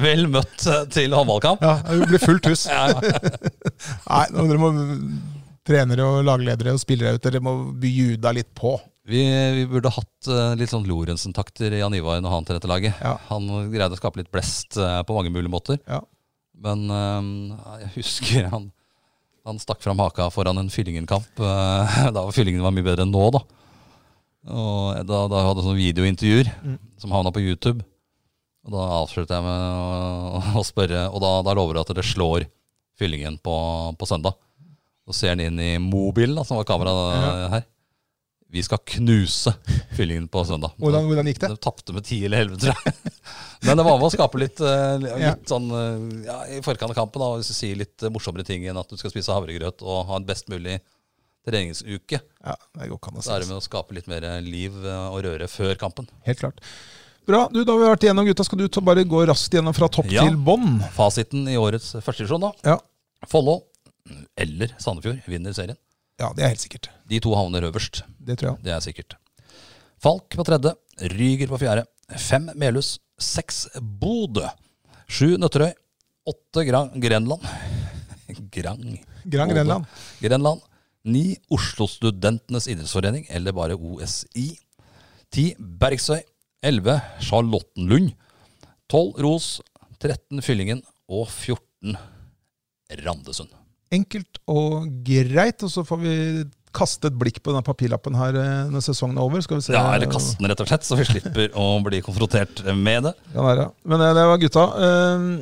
A: Vel møtt eh, til håndballkamp.
B: Ja, det blir fullt hus.
A: Ja, ja.
B: Nei, nå dere må trenere og lagledere og spillere ut, dere må by juda litt på.
A: Vi, vi burde hatt eh, litt sånn Lorentzen-takter i Jan Ivar når han trente laget.
B: Ja.
A: Han greide å skape litt blest eh, på mange mulige måter.
B: Ja.
A: Men eh, jeg husker han, han stakk fram haka foran en Fyllingen-kamp. eh, da var Fyllingen var mye bedre enn nå, da. Og da, da hadde jeg sånne videointervjuer
B: Mm.
A: som havna på YouTube. Og da avsluttet jeg med å, å spørre, og da, da lover du at dere slår Fyllingen på, på søndag. Så ser han inn i mobilen, da, som var kamera da, her. Vi skal knuse Fyllingen på søndag.
B: Hvordan, hvordan gikk det?
A: De tapte med ti eller elleve, tror jeg. Men det var med å skape litt, eh, litt
B: Ja.
A: sånn eh, ja, I forkant av kampen, da, hvis du sier litt eh, morsommere ting enn at du skal spise havregrøt og ha en best mulig treningsuke,
B: Ja, det går ikke an å
A: så er det
B: si.
A: med å skape litt mer liv eh, og røre før kampen.
B: Helt klart. Bra. Du, da har vi vært igjennom gutta. Skal du ta, bare gå raskt gjennom fra topp
A: Ja.
B: til bånn?
A: Fasiten i årets førstedivisjon, da.
B: Ja.
A: Follo eller Sandefjord vinner serien.
B: ja, det er helt sikkert.
A: De to havner øverst,
B: Det tror jeg.
A: det er sikkert. Falk på tredje, Ryger på fjerde, fem Melhus, seks Bodø, sju Nøtterøy, åtte Gran Grenland. Grang.
B: Gran
A: Bodø.
B: Grenland.
A: Grenland. 9. Oslo-studentenes idrettsforening, eller bare OSI. 10. Bergsøy. 11. Charlottenlund. 12. Ros. 13. Fyllingen. Og 14. Randesund.
B: Enkelt og greit. Og så får vi kaste et blikk på denne papirlappen her eh, når sesongen er over. Skal vi se.
A: Ja, eller kaste den, rett og slett, så vi slipper å bli konfrontert med det.
B: Kan være. Men eh, det var gutta. Eh,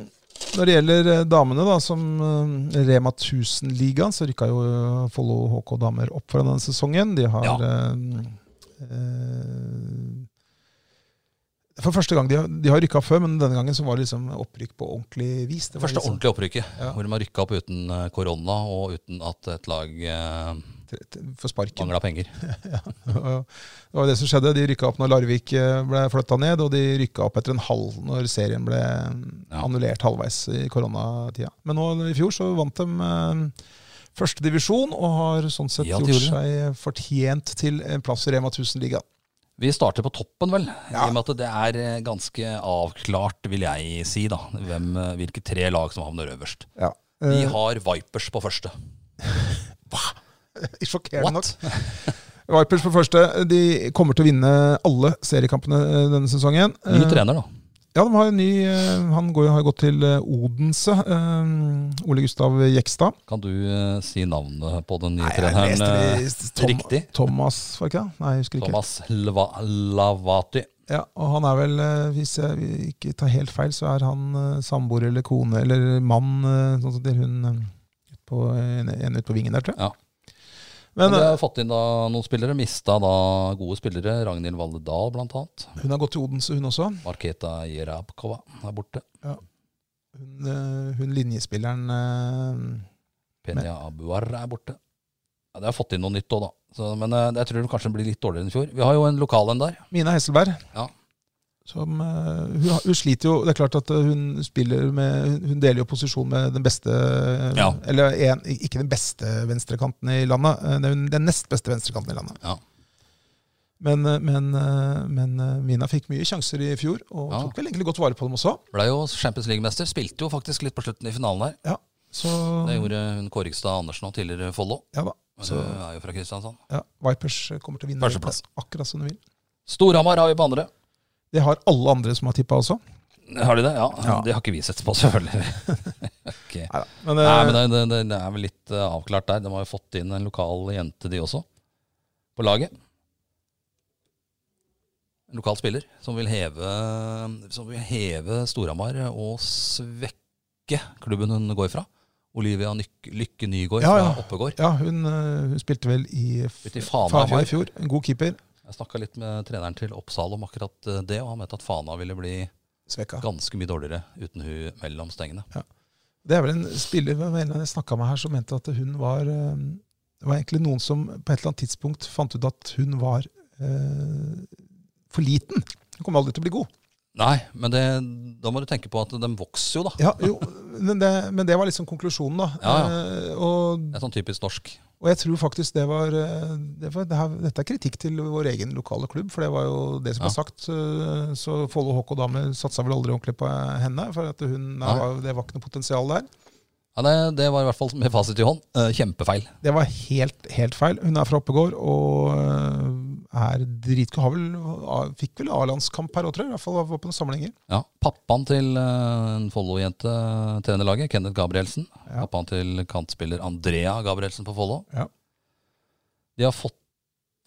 B: Når det gjelder eh, damene, da, som eh, Rema 1000-ligaen, så rykka jo eh, Follo HK damer opp fra denne sesongen. De har
A: Ja.
B: eh, eh, For første gang. De har, de har rykka før, men denne gangen så var det liksom opprykk på ordentlig vis. Det
A: Det
B: var
A: første
B: liksom
A: ordentlige opprykket,
B: Ja.
A: hvor de har rykka opp uten eh, korona og uten at et lag eh,
B: tre- tre- for sparken.
A: mangla penger.
B: Og Det var det som skjedde. De rykka opp når Larvik eh, ble flytta ned, og de rykka opp etter en halv når serien ble mm,
A: Ja.
B: annullert halvveis i koronatida. Men nå i fjor så vant de eh, første divisjon og har sånn sett
A: Ja, de
B: gjort
A: gjorde
B: seg fortjent til en plass i Rema 1000-ligaen.
A: Vi starter på toppen, vel. I
B: Ja.
A: og med at det er eh, ganske avklart, vil jeg si, da, hvem, eh, hvilke tre lag som havner øverst.
B: Ja.
A: Vi
B: Eh,
A: har Vipers på første.
B: sjokkerende nok.
A: What?
B: Vipers for første. De kommer til å vinne alle seriekampene eh, denne sesongen.
A: Ny
B: Eh,
A: trener, da.
B: Ja, de har en ny eh, Han går, har gått til eh, Odense. eh, Ole Gustav Jekstad.
A: Kan du eh, si navnet på den nye
B: jeg
A: treneren? eh,
B: leste det i Tom-
A: riktig.
B: Thomas, var det ikke det? Nei, jeg husker ikke.
A: Thomas Lva Lavati.
B: Ja, og han er vel, eh, hvis jeg ikke tar helt feil, så er han eh, samboer eller kone eller mann, eh, sånn som til hun eh, på, en, en ute på vingen der, tror jeg.
A: Ja. Men
B: Men
A: de
B: eh,
A: har fått inn da noen spillere. Mista da gode spillere. Ragnhild Valle Dahl, blant annet.
B: eh, hun har gått til Odense, hun også.
A: Marketa Jerabkova er borte.
B: Hun, eh, hun linjespilleren eh,
A: Penya Abuar er borte. Ja, de har fått inn noe nytt òg, da. Så, men eh, jeg tror de kanskje blir litt dårligere enn i fjor. Vi har jo en lokal en der.
B: Mina Hesselberg.
A: Ja.
B: Som, eh, hun, har- hun sliter jo Det er klart at eh, hun spiller med Hun hun deler jo posisjon med den beste eh,
A: Ja.
B: Eller en, ikke den beste venstrekanten i landet. eh, det er hun- Den nest beste venstrekanten i landet.
A: Ja.
B: Men, eh, men, eh, men eh, Mina fikk mye sjanser i fjor, og
A: Ja.
B: tok vel egentlig godt vare på dem også.
A: Ble jo Champions League-mester. Spilte jo faktisk litt på slutten i finalen der.
B: Så,
A: Det gjorde hun Kårigstad Andersen og tidligere Follo.
B: ja, da.
A: Men
B: Mm. så
A: Hun er jo fra Kristiansand.
B: ja, Vipers kommer til å vinne
A: Førsteplass.
B: dette akkurat som de vil.
A: Storhamar har vi på andre.
B: Det har alle andre som har tippa også.
A: Har de det? Ja.
B: Ja.
A: Det har ikke vi sett på, selvfølgelig. Ok.
B: Neida. Men,
A: Nei,
B: eh,
A: men det, det, det, det er vel litt eh, avklart der. De har jo fått inn en lokal jente, de også, på laget. En lokal spiller som vil heve, som vil heve Storhamar og svekke klubben hun går fra. Olivia Nyk Lykke Nygård
B: Ja, ja.
A: fra Oppegård.
B: ja, hun, eh, hun spilte vel i
A: Ute i Fana i
B: Fana i fjor. En god keeper.
A: Jeg snakka litt med treneren til Oppsal om akkurat eh, det, og han mente at Fana ville bli
B: Svekka.
A: ganske mye dårligere uten hun mellom stengene.
B: Det er vel en spiller hvem var det jeg snakka med her, som mente at hun var eh, Det var egentlig noen som på et eller annet tidspunkt fant ut at hun var eh, for liten. Hun kommer aldri til å bli god.
A: Nei, men det, da må du tenke på at de vokser jo, da.
B: Ja, jo, men, det, men det var liksom konklusjonen, da.
A: Ja,
B: Eh, og
A: Det er sånn typisk norsk.
B: Og jeg tror faktisk det var, eh, det var det her, Dette er kritikk til vår egen lokale klubb, for det var jo det som
A: Ja.
B: var sagt. eh, Så Follo HK Dame satsa vel aldri ordentlig på henne, for at hun,
A: Nei.
B: var- det var ikke noe potensial der.
A: Ja, det, det var i hvert fall med fasit i hånd. eh, Kjempefeil.
B: Det var helt, helt feil. Hun er fra Oppegård og øh, er dritgod. Har vel- a- Fikk vel A-landskamp her òg, tror jeg. I hvert fall var på noen samlinger.
A: Ja, Pappaen til eh, en Follo-jente eh, trener laget, Kenneth Gabrielsen.
B: Ja.
A: Pappaen til kantspiller Andrea Gabrielsen på Follo.
B: Ja.
A: De har fått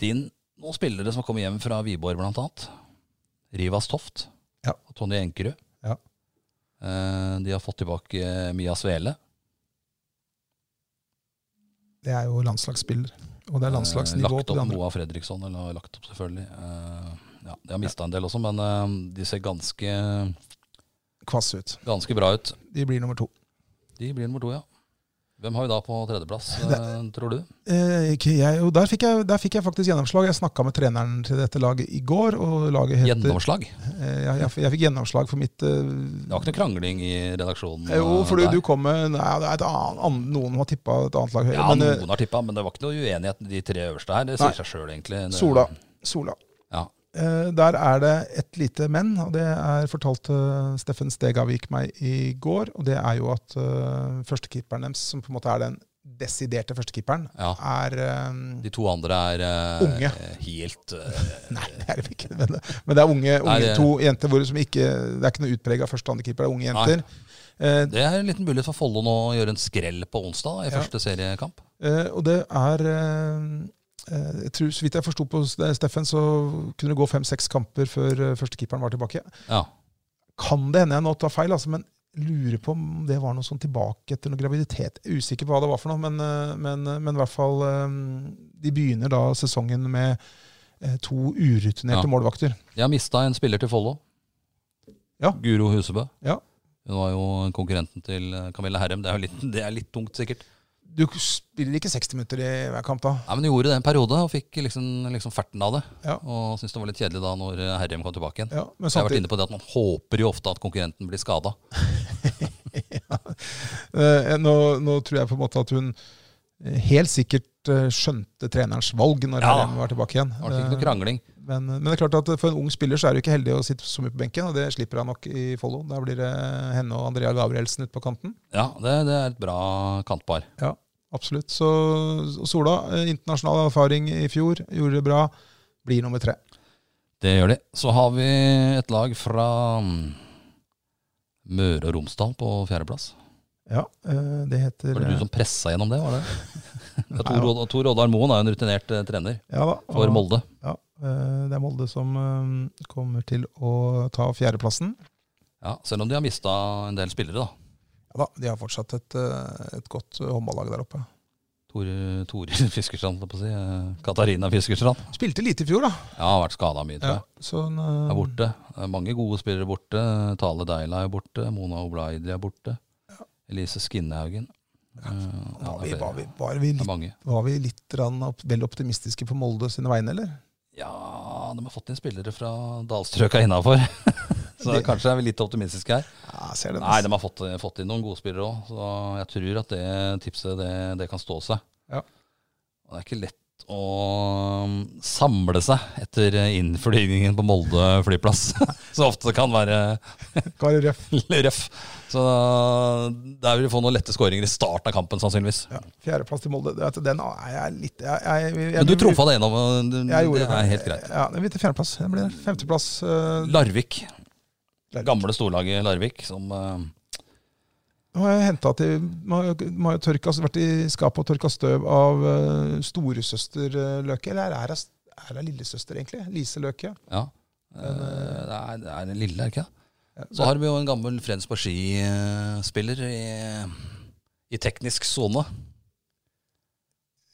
A: inn noen spillere som har kommet hjem fra Wiborg, blant annet. Rivas Toft
B: Ja.
A: og Tonje Enkerud.
B: Ja.
A: Eh, De har fått tilbake eh, Mia Svele.
B: Det er jo landslagsspiller. Og det er
A: Eh,
B: landslagsnivå
A: Lagt
B: på de
A: opp
B: andre.
A: Moa Fredriksson, eller lagt opp selvfølgelig. Eh, Ja, de har mista en del også, men eh, de ser ganske,
B: Kvass ut.
A: ganske bra ut.
B: De blir nummer to.
A: De blir nummer to, ja. Hvem har vi da på tredjeplass, eh, tror du?
B: Eh, ikke jeg, og der, fikk jeg, der fikk jeg faktisk gjennomslag. Jeg snakka med treneren til dette laget i går. Og laget heter,
A: Gjennomslag?
B: Eh, jeg, jeg, jeg fikk gjennomslag for mitt
A: Det var ikke noe krangling i redaksjonen?
B: eh, Jo,
A: eh,
B: for du,
A: der.
B: du kom med nei, det er et annet, Noen har tippa et annet lag høyere.
A: Ja,
B: men, eh,
A: noen har tippa, men det var ikke noe uenighet de tre øverste her. Det sier
B: Nei.
A: seg sjøl, egentlig. Det-
B: Sola. Sola.
A: Ja.
B: Eh, Der er det et lite men, og det er fortalte Steffen Stegavik meg i går. Og det er jo at eh, førstekeeperen deres, som på en måte er den desiderte førstekeeperen,
A: ja.
B: er eh,
A: De to andre er eh,
B: Unge.
A: helt eh,
B: Nei, det er de ikke. Men det, men det er unge, unge
A: Nei, det-
B: to jenter hvor som ikke Det er ikke noe utprega første- og andrekeeper, det er unge jenter. Eh,
A: Det er en liten mulighet for Follo nå å gjøre en skrell på onsdag i
B: Ja.
A: første seriekamp.
B: Eh, og det er eh, eh, jeg tror, Så vidt jeg forsto på Steffen, så kunne det gå fem-seks kamper før eh, førstekeeperen var tilbake.
A: Ja.
B: Kan det hende jeg nå tar feil, altså, men lurer på om det var noe sånn tilbake etter noe graviditet. Jeg er Usikker på hva det var for noe, men, eh, men, men i hvert fall eh, De begynner da sesongen med eh, to
A: Ja.
B: urutinerte målvakter.
A: Jeg har mista en spiller til Follo.
B: Ja.
A: Guro Husebø.
B: Ja.
A: Hun var jo konkurrenten til eh, Camilla Herrem. Det er, jo litt, det er litt tungt, sikkert.
B: Du spiller ikke 60 minutter i hver kamp, da?
A: Nei, men Hun gjorde det en periode og fikk liksom, liksom ferten av det.
B: Ja.
A: Og syntes det var litt kjedelig da når eh, Herrem kom tilbake igjen.
B: Ja, men
A: Så jeg har vært
B: samtidig,
A: inne på det at Man håper jo ofte at konkurrenten blir skada.
B: eh, nå, nå tror jeg på en måte at hun eh, helt sikkert eh, skjønte trenerens valg når
A: Ja.
B: Herrem var tilbake igjen. Eh,
A: Det var ikke noe krangling.
B: Men, men det er klart at for en ung spiller så er det jo ikke heldig å sitte så mye på benken, og det slipper han nok i Follo. Der blir det henne og Andrea Gabrielsen ute på kanten.
A: Ja, det, det er et bra kantpar.
B: Absolutt. Så og Sola, eh, internasjonal erfaring i fjor, gjorde det bra. Blir nummer tre.
A: Det gjør de. Så har vi et lag fra mm, Møre og Romsdal på fjerdeplass.
B: Ja, eh, det heter eh,
A: Var det du som pressa gjennom det? var det? Ja,
B: Nei,
A: Tor, Odd- Tor Oddar Moen er jo en rutinert eh, trener
B: ja, da,
A: for
B: og-
A: Molde.
B: Ja, eh, det er Molde som eh, kommer til å ta fjerdeplassen.
A: Ja, selv om de har mista en del spillere, da.
B: Ja da, de har fortsatt et, eh, et godt eh, håndballag der oppe.
A: Tore Tore Fiskerstrand, holdt jeg på å si. Eh, Katarina Fiskerstrand.
B: Spilte lite i fjor, da.
A: Ja, har vært skada mye, tror jeg.
B: sånn,
A: er
B: eh,
A: borte. Det er Mange gode spillere borte. Tale Deila er borte. Mona Oblaidi er borte. Elise Skinnehaugen. Eh, Ja, det
B: var, vi,
A: er
B: var,
A: flere. Det
B: vi, var vi litt
A: er mange.
B: Var vi litt grann opp, vel optimistiske på Molde sine vegne, eller?
A: Ja, de har fått inn spillere fra dalstrøka innafor. Så
B: Det-
A: kanskje er vi litt optimistiske her.
B: Ja, ser den.
A: Nei, de har fått, fått inn noen gode spillere òg, så jeg tror at det tipset det, det kan stå seg.
B: Ja.
A: Og det er ikke lett å um, samle seg etter innflygningen på Molde flyplass, som ofte kan være
B: Kari Røff.
A: røff. Så der vil du få noen lette skåringer i starten av kampen, sannsynligvis.
B: Ja, Fjerdeplass til Molde. Vet du, Den er jeg litt jeg, jeg, jeg,
A: Men du trumfa det gjennom, og det
B: Jeg gjorde
A: det er helt greit.
B: Ja, det blir til fjerdeplass. Det blir femteplass. eh,
A: Larvik.
B: Larvik.
A: Gamle storlaget Larvik, som eh,
B: Nå har jeg hentet til Må må jo tørka, vært i skapet og tørka støv av eh, storesøster eh, Løke. Eller er det, er det lillesøster, egentlig? Lise Løke.
A: Ja. eh, Det er, det er den lille, er det ikke det? Så har vi jo en gammel Frensborg Ski-spiller i, i teknisk sone.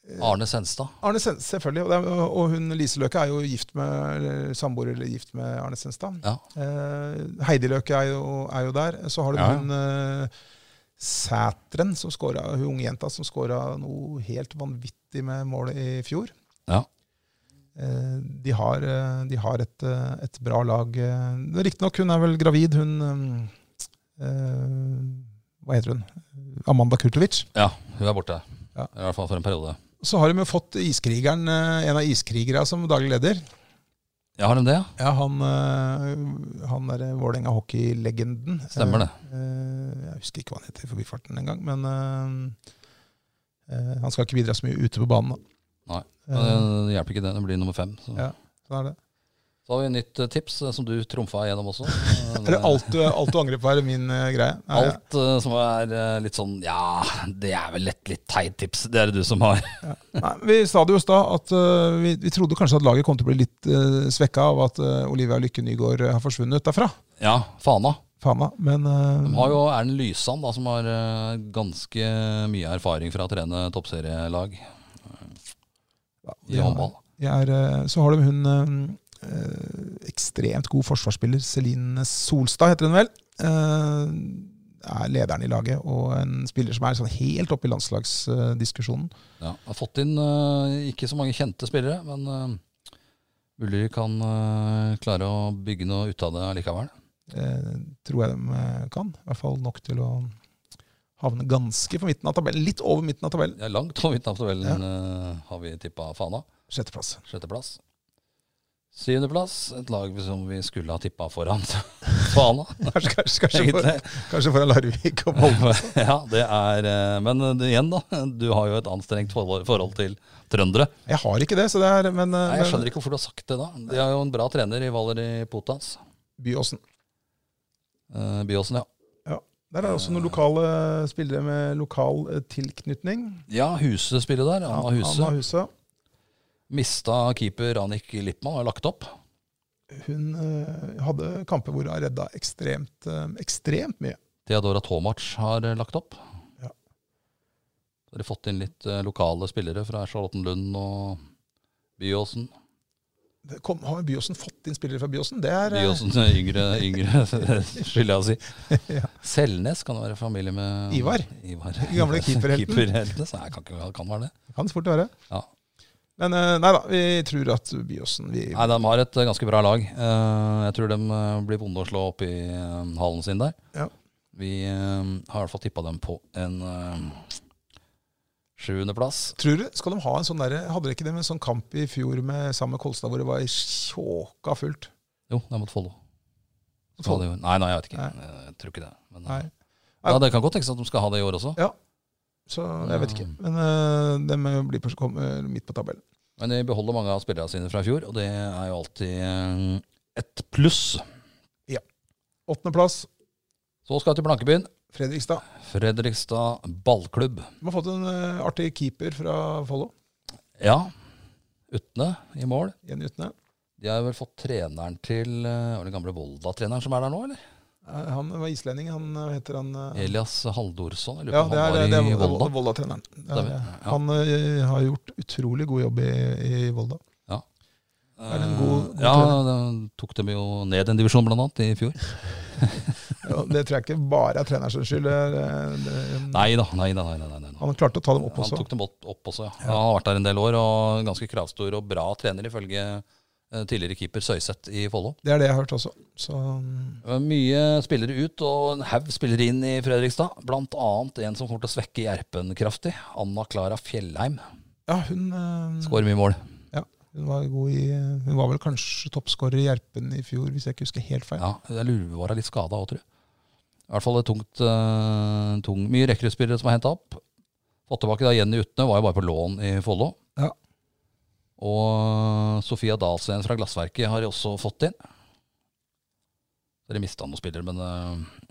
B: Eh.
A: Arne Senstad.
B: Arne Senstad, selvfølgelig. Og, det er, og hun Lise Løke er jo gift med eller samboer eller gift med Arne Senstad.
A: Ja.
B: Eh, Heidi Løke er jo, er jo der. Så har du
A: Ja.
B: hun eh, Sætren, som skåra, hun unge jenta som skåra noe helt vanvittig med mål i fjor.
A: Ja.
B: Eh, de har, eh, de har et, eh, et bra lag. eh. Det er Riktignok, hun er vel gravid, hun eh, eh, Hva heter hun? Amanda Kurtovic.
A: ja, hun er borte.
B: Ja.
A: I hvert fall for en periode.
B: Så har de jo fått iskrigeren, eh, en av iskrigerne som daglig leder.
A: Ja, har de det? ja?
B: Ja, Han, eh, han derre Vålerenga hockeylegenden.
A: Stemmer det.
B: Eh, Jeg husker ikke hva han heter i forbifarten engang, men eh, eh, han skal ikke bidra så mye ute på banen. da.
A: Nei, Men Det hjelper ikke det. Det blir nummer fem. Så,
B: Ja. Sånn er det.
A: så har vi et nytt eh, tips eh, som du trumfa igjennom også. Eh,
B: Er det alt du, alt du angrer på, er det min eh, greie? Nei,
A: Alt eh, som er eh, litt sånn Ja, det er vel et litt teit tips. Det er det du som har.
B: Nei, vi sa det jo i stad at eh, vi, vi trodde kanskje at laget kom til å bli litt eh, svekka av at eh, Olivia Lykke Nygaard har forsvunnet derfra.
A: Ja, Fana.
B: Fana, men eh,
A: De har jo Erlend Lysand, da, som har eh, ganske mye erfaring fra å trene toppserielag i
B: ja,
A: håndball.
B: jeg er, eh, så har de hun eh, eh, ekstremt god forsvarsspiller, Celine Solstad heter hun vel. eh, er lederen i laget og en spiller som er sånn helt oppe i landslagsdiskusjonen.
A: Ja, har fått inn eh, ikke så mange kjente spillere, men uh, Ulrik kan eh, klare å bygge noe ut av det allikevel.
B: eh, tror jeg de eh, kan. I hvert fall nok til å havne ganske på midten av tabellen. Litt over midten av tabellen.
A: Det er langt over midten av tabellen eh, har vi tippa Fana.
B: Sjetteplass.
A: Sjetteplass. Syvendeplass, et lag som vi skulle ha tippa foran Fana.
B: Kanskje, kanskje, kanskje, for,
A: Egentlig.
B: kanskje foran Larvik og Molde.
A: ja, det er eh, Men det, igjen, da. Du har jo et anstrengt forhold, forhold til trøndere.
B: Jeg har ikke det, så det er Men, eh,
A: Nei, jeg
B: men
A: skjønner ikke hvorfor du har sagt det da. De har jo en bra trener i Valeri Potas.
B: Byåsen.
A: Eh, Byåsen, ja.
B: Der er også noen lokale spillere med lokal eh, tilknytning.
A: Ja, Huse spiller der. Anna Huse.
B: Anna Huse.
A: Mista keeper Annik Lippmann, har lagt opp.
B: Hun eh, hadde kamper hvor hun har redda ekstremt, eh, ekstremt mye.
A: Theodora Tomac har eh, lagt opp.
B: Ja.
A: Så har de fått inn litt eh, lokale spillere fra Charlottenlund og Byåsen.
B: Det Kom, har Byåsen fått inn spillere fra Byåsen? Det er eh,
A: Byåsen eh, yngre, yngre skylder jeg å si.
B: Ja.
A: Selnes kan være familie med
B: Ivar.
A: Ivar.
B: Gamle keeperhelten.
A: Keeperhelten, så Nei, kan, ikke- kan være det.
B: kan fort være.
A: Ja.
B: Men eh, nei da, vi tror at Byåsen vi,
A: Nei, de har et eh, ganske bra lag. Eh, Jeg tror de eh, blir vonde å slå opp i eh, hallen sin der.
B: Ja.
A: Vi eh, har i hvert fall tippa dem på en eh, sjuendeplass.
B: Tror du, skal de ha en sånn der, Hadde dere ikke det med en sånn kamp i fjor med, sammen med Kolstad, hvor det var tjåka fullt?
A: Jo, det er mot Follo. Skal
B: Nei.
A: de- Nei, nei, jeg vet ikke.
B: Nei.
A: Jeg tror ikke det. Men, eh, ja, det kan godt tenkes at de skal ha det i år også.
B: Så jeg vet ikke. Men de blir på, kommer midt på tabellen.
A: Men de beholder mange av spillerne sine fra i fjor, og det er jo alltid eh, et pluss.
B: Åttendeplass,
A: Så skal vi til Blankebyen.
B: Fredrikstad.
A: Fredrikstad ballklubb.
B: De har fått en eh, artig keeper fra Follo.
A: Ja, Utne i mål.
B: Jenny Utne.
A: De har vel fått treneren til eh, Var det gamle Volda-treneren som er der nå, eller?
B: Eh, Han var islending. Han eh, hva heter han eh,
A: Elias Haldorsson. Jeg lurer
B: Ja,
A: på
B: det
A: om
B: er,
A: han
B: det
A: var i
B: er
A: Volda.
B: Volda-treneren. Det er
A: Stemmer,
B: det.
A: ja.
B: Han eh, har gjort utrolig god jobb i, i Volda. er det en god- god
A: ja, den tok dem jo ned en divisjon, blant annet, i fjor.
B: Ja, det tror jeg ikke bare er trenerens skyld. det er, eh, det-
A: Nei da, nei da. Nei, nei, nei, nei.
B: Han klarte å ta dem opp
A: Han
B: også.
A: tok dem opp, opp også, ja. Han har vært der en del år, og ganske kravstor og bra trener, ifølge eh, tidligere keeper Søyseth i Follo.
B: Det er det jeg har hørt også. Så mm,
A: Det var Eh, Mye spillere ut, og en haug spillere inn i Fredrikstad. Blant annet en som kommer til å svekke Gjerpen kraftig. Anna Klara Fjellheim.
B: ja, hun, eh,
A: Skårer mye mål.
B: hun var god i eh, Hun var vel kanskje toppskårer i Gjerpen i fjor, hvis jeg ikke husker helt feil.
A: Ja, jeg lurer på var hun litt skada òg, tror jeg. I hvert fall et tungt, eh, tung, mye rekruttspillere som er henta opp. Fått tilbake da Jenny Utne, var jo bare på lån i Follo.
B: Ja.
A: Og eh, Sofia Dahlsven fra Glassverket har de også fått inn. Dere mista noen spillere, men eh,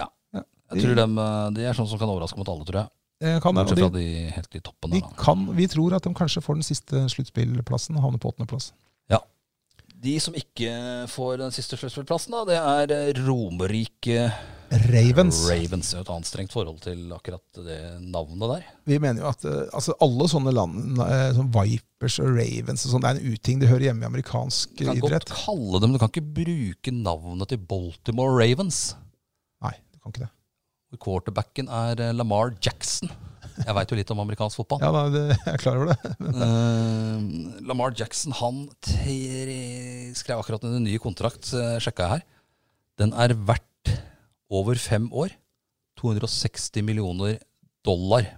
A: ja.
B: Ja,
A: Jeg tror dem, eh, de er sånn som kan overraske mot alle, tror jeg.
B: Eh, Kan, det, og
A: Bortsett
B: de,
A: fra de helt i toppen.
B: de
A: der, da.
B: kan, vi tror at de kanskje får den siste sluttspillplassen og havner på åttendeplass.
A: De som ikke får den siste sluttspillplassen, da, det er eh, Romerike
B: Ravens.
A: Ravens er jo et anstrengt forhold til akkurat det navnet der.
B: Vi mener jo at eh, altså alle sånne land, eh, som Vipers og Ravens og sånn, det er en uting. Det hører hjemme i amerikansk
A: Du kan godt
B: idrett.
A: kalle dem, du kan ikke bruke navnet til Baltimore Ravens.
B: Nei, du kan ikke det.
A: Og Quarterbacken er eh, Lamar Jackson. Jeg veit jo litt om amerikansk fotball.
B: Ja, da, det, jeg er klar over det.
A: Eh, Lamar Jackson han tre- skrev akkurat en ny kontrakt, uh, sjekka jeg her. Den er verdt over fem år 260 millioner dollar.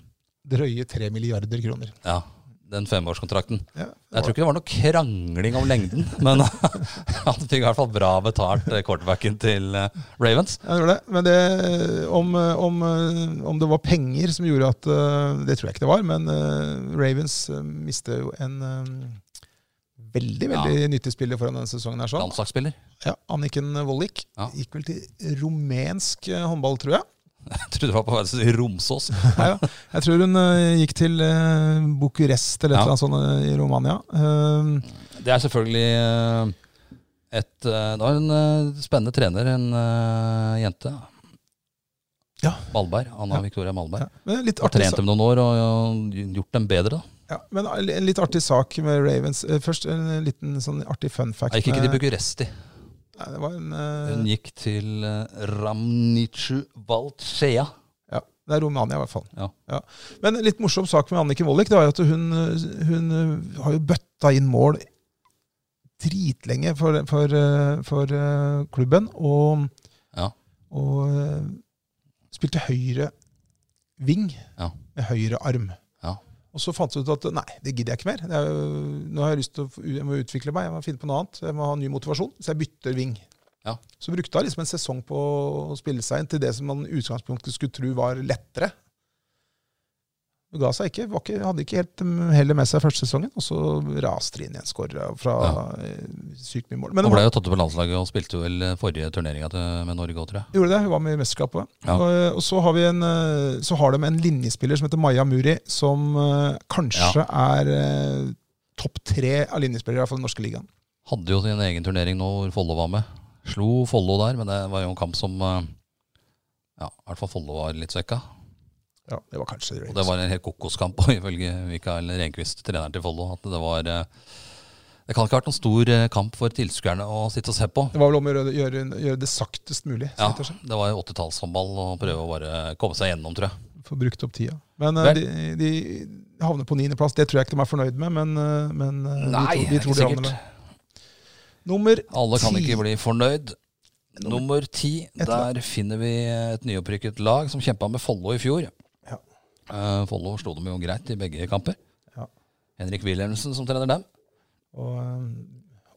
B: Drøye tre milliarder kroner.
A: Ja. den femårskontrakten.
B: Ja.
A: Jeg tror ikke det var noe krangling om lengden, men han fikk i hvert fall bra betalt, eh, quarterbacken til eh, Ravens.
B: Ja, det var det. Men det, om, eh, om, om det var penger som gjorde at eh, Det tror jeg ikke det var, men eh, Ravens eh, mister jo en eh, veldig
A: Ja.
B: veldig nyttig spiller foran denne sesongen. her sånn.
A: Landslagsspiller.
B: Ja, Anniken Wollik
A: Ja.
B: gikk vel til rumensk eh, håndball, tror jeg.
A: Jeg trodde det var på vei til å si Romsås.
B: Nei, da. Jeg tror hun eh, gikk til uh, Bucuresti eller et
A: Ja.
B: eller annet sånt eh, i Romania. Eh,
A: Det er selvfølgelig eh, et eh, Det var en eh, spennende trener, en eh, jente.
B: Ja.
A: Malberg. Anna
B: Ja.
A: Victoria Malberg.
B: ja. Men litt
A: Har
B: artig
A: trent
B: sak.
A: dem noen år og, og gjort dem bedre, da.
B: Ja, men en litt artig sak med Ravens. Eh, Først en liten sånn artig fun fact.
A: Jeg gikk ikke til
B: med-
A: Bucuresti.
B: Nei, det var en, eh,
A: Hun gikk til eh, Ramnicu Balchea.
B: Ja, det er Romania i hvert fall.
A: Ja.
B: Men en litt morsom sak med Anniken Wollick, det var jo at hun, hun eh, har jo bøtta inn mål dritlenge for, for, eh, for eh, klubben, og,
A: Ja.
B: og eh, spilte høyre ving
A: Ja.
B: med høyre arm.
A: Ja.
B: Og så fant hun ut at nei, det gidder jeg ikke mer. Det er, jo- nå har jeg lyst til å jeg må utvikle meg, jeg må finne på noe annet. Jeg må ha ny motivasjon, så jeg bytter ving.
A: Ja.
B: Så brukte hun liksom en sesong på å spille seg inn til det som man i utgangspunktet skulle tro var lettere. Hun ga seg ikke, var ikke, hadde ikke helt mm, hellet med seg første sesongen, og så raste de inn igjen, skåra fra eh, sykt mye mål.
A: Hun
B: Men det var-
A: ble jo tatt ut på landslaget og spilte vel eh, forrige turneringa til- med Norge òg, tror jeg.
B: Gjorde det, hun var med i mesterskapet.
A: Ja.
B: Og, og så har, vi en, eh, så har de en linjespiller som heter Maja Muri, som eh, kanskje er eh, topp tre av linjespillere i hvert fall i den norske ligaen.
A: Hadde jo sin egen turnering nå hvor Follo var med. Slo Follo der, men det var jo en kamp som eh, Ja, i hvert fall Follo var litt svekka.
B: Ja, det var kanskje
A: Og det var en helt kokoskamp, og ifølge Mikael Rehnquist, treneren til Follo, at det var eh, Det kan ikke ha vært noen stor eh, kamp for tilskuerne å sitte og se på.
B: Det var vel om å gjøre, gjøre, gjøre det saktest mulig.
A: Ja,
B: Ja.
A: det var 80-tallshåndball og prøve å bare komme seg gjennom, tror jeg.
B: Få brukt opp tida. Men eh,
A: Vel.
B: de, de havner på niendeplass. Det tror jeg ikke de er fornøyd med, men, eh, men eh,
A: Nei,
B: vi,
A: det er
B: tror, vi
A: ikke
B: tror de
A: sikkert.
B: havner med. Nummer
A: Alle kan
B: ti.
A: ikke bli fornøyd. Nummer ti,
B: Et lag.
A: der finner vi et nyopprykket lag som kjempa med Follo i fjor.
B: Ja.
A: Eh, Follo slo dem jo greit i begge kamper.
B: Ja.
A: Henrik Wilhelmsen som trener dem.
B: Og, eh,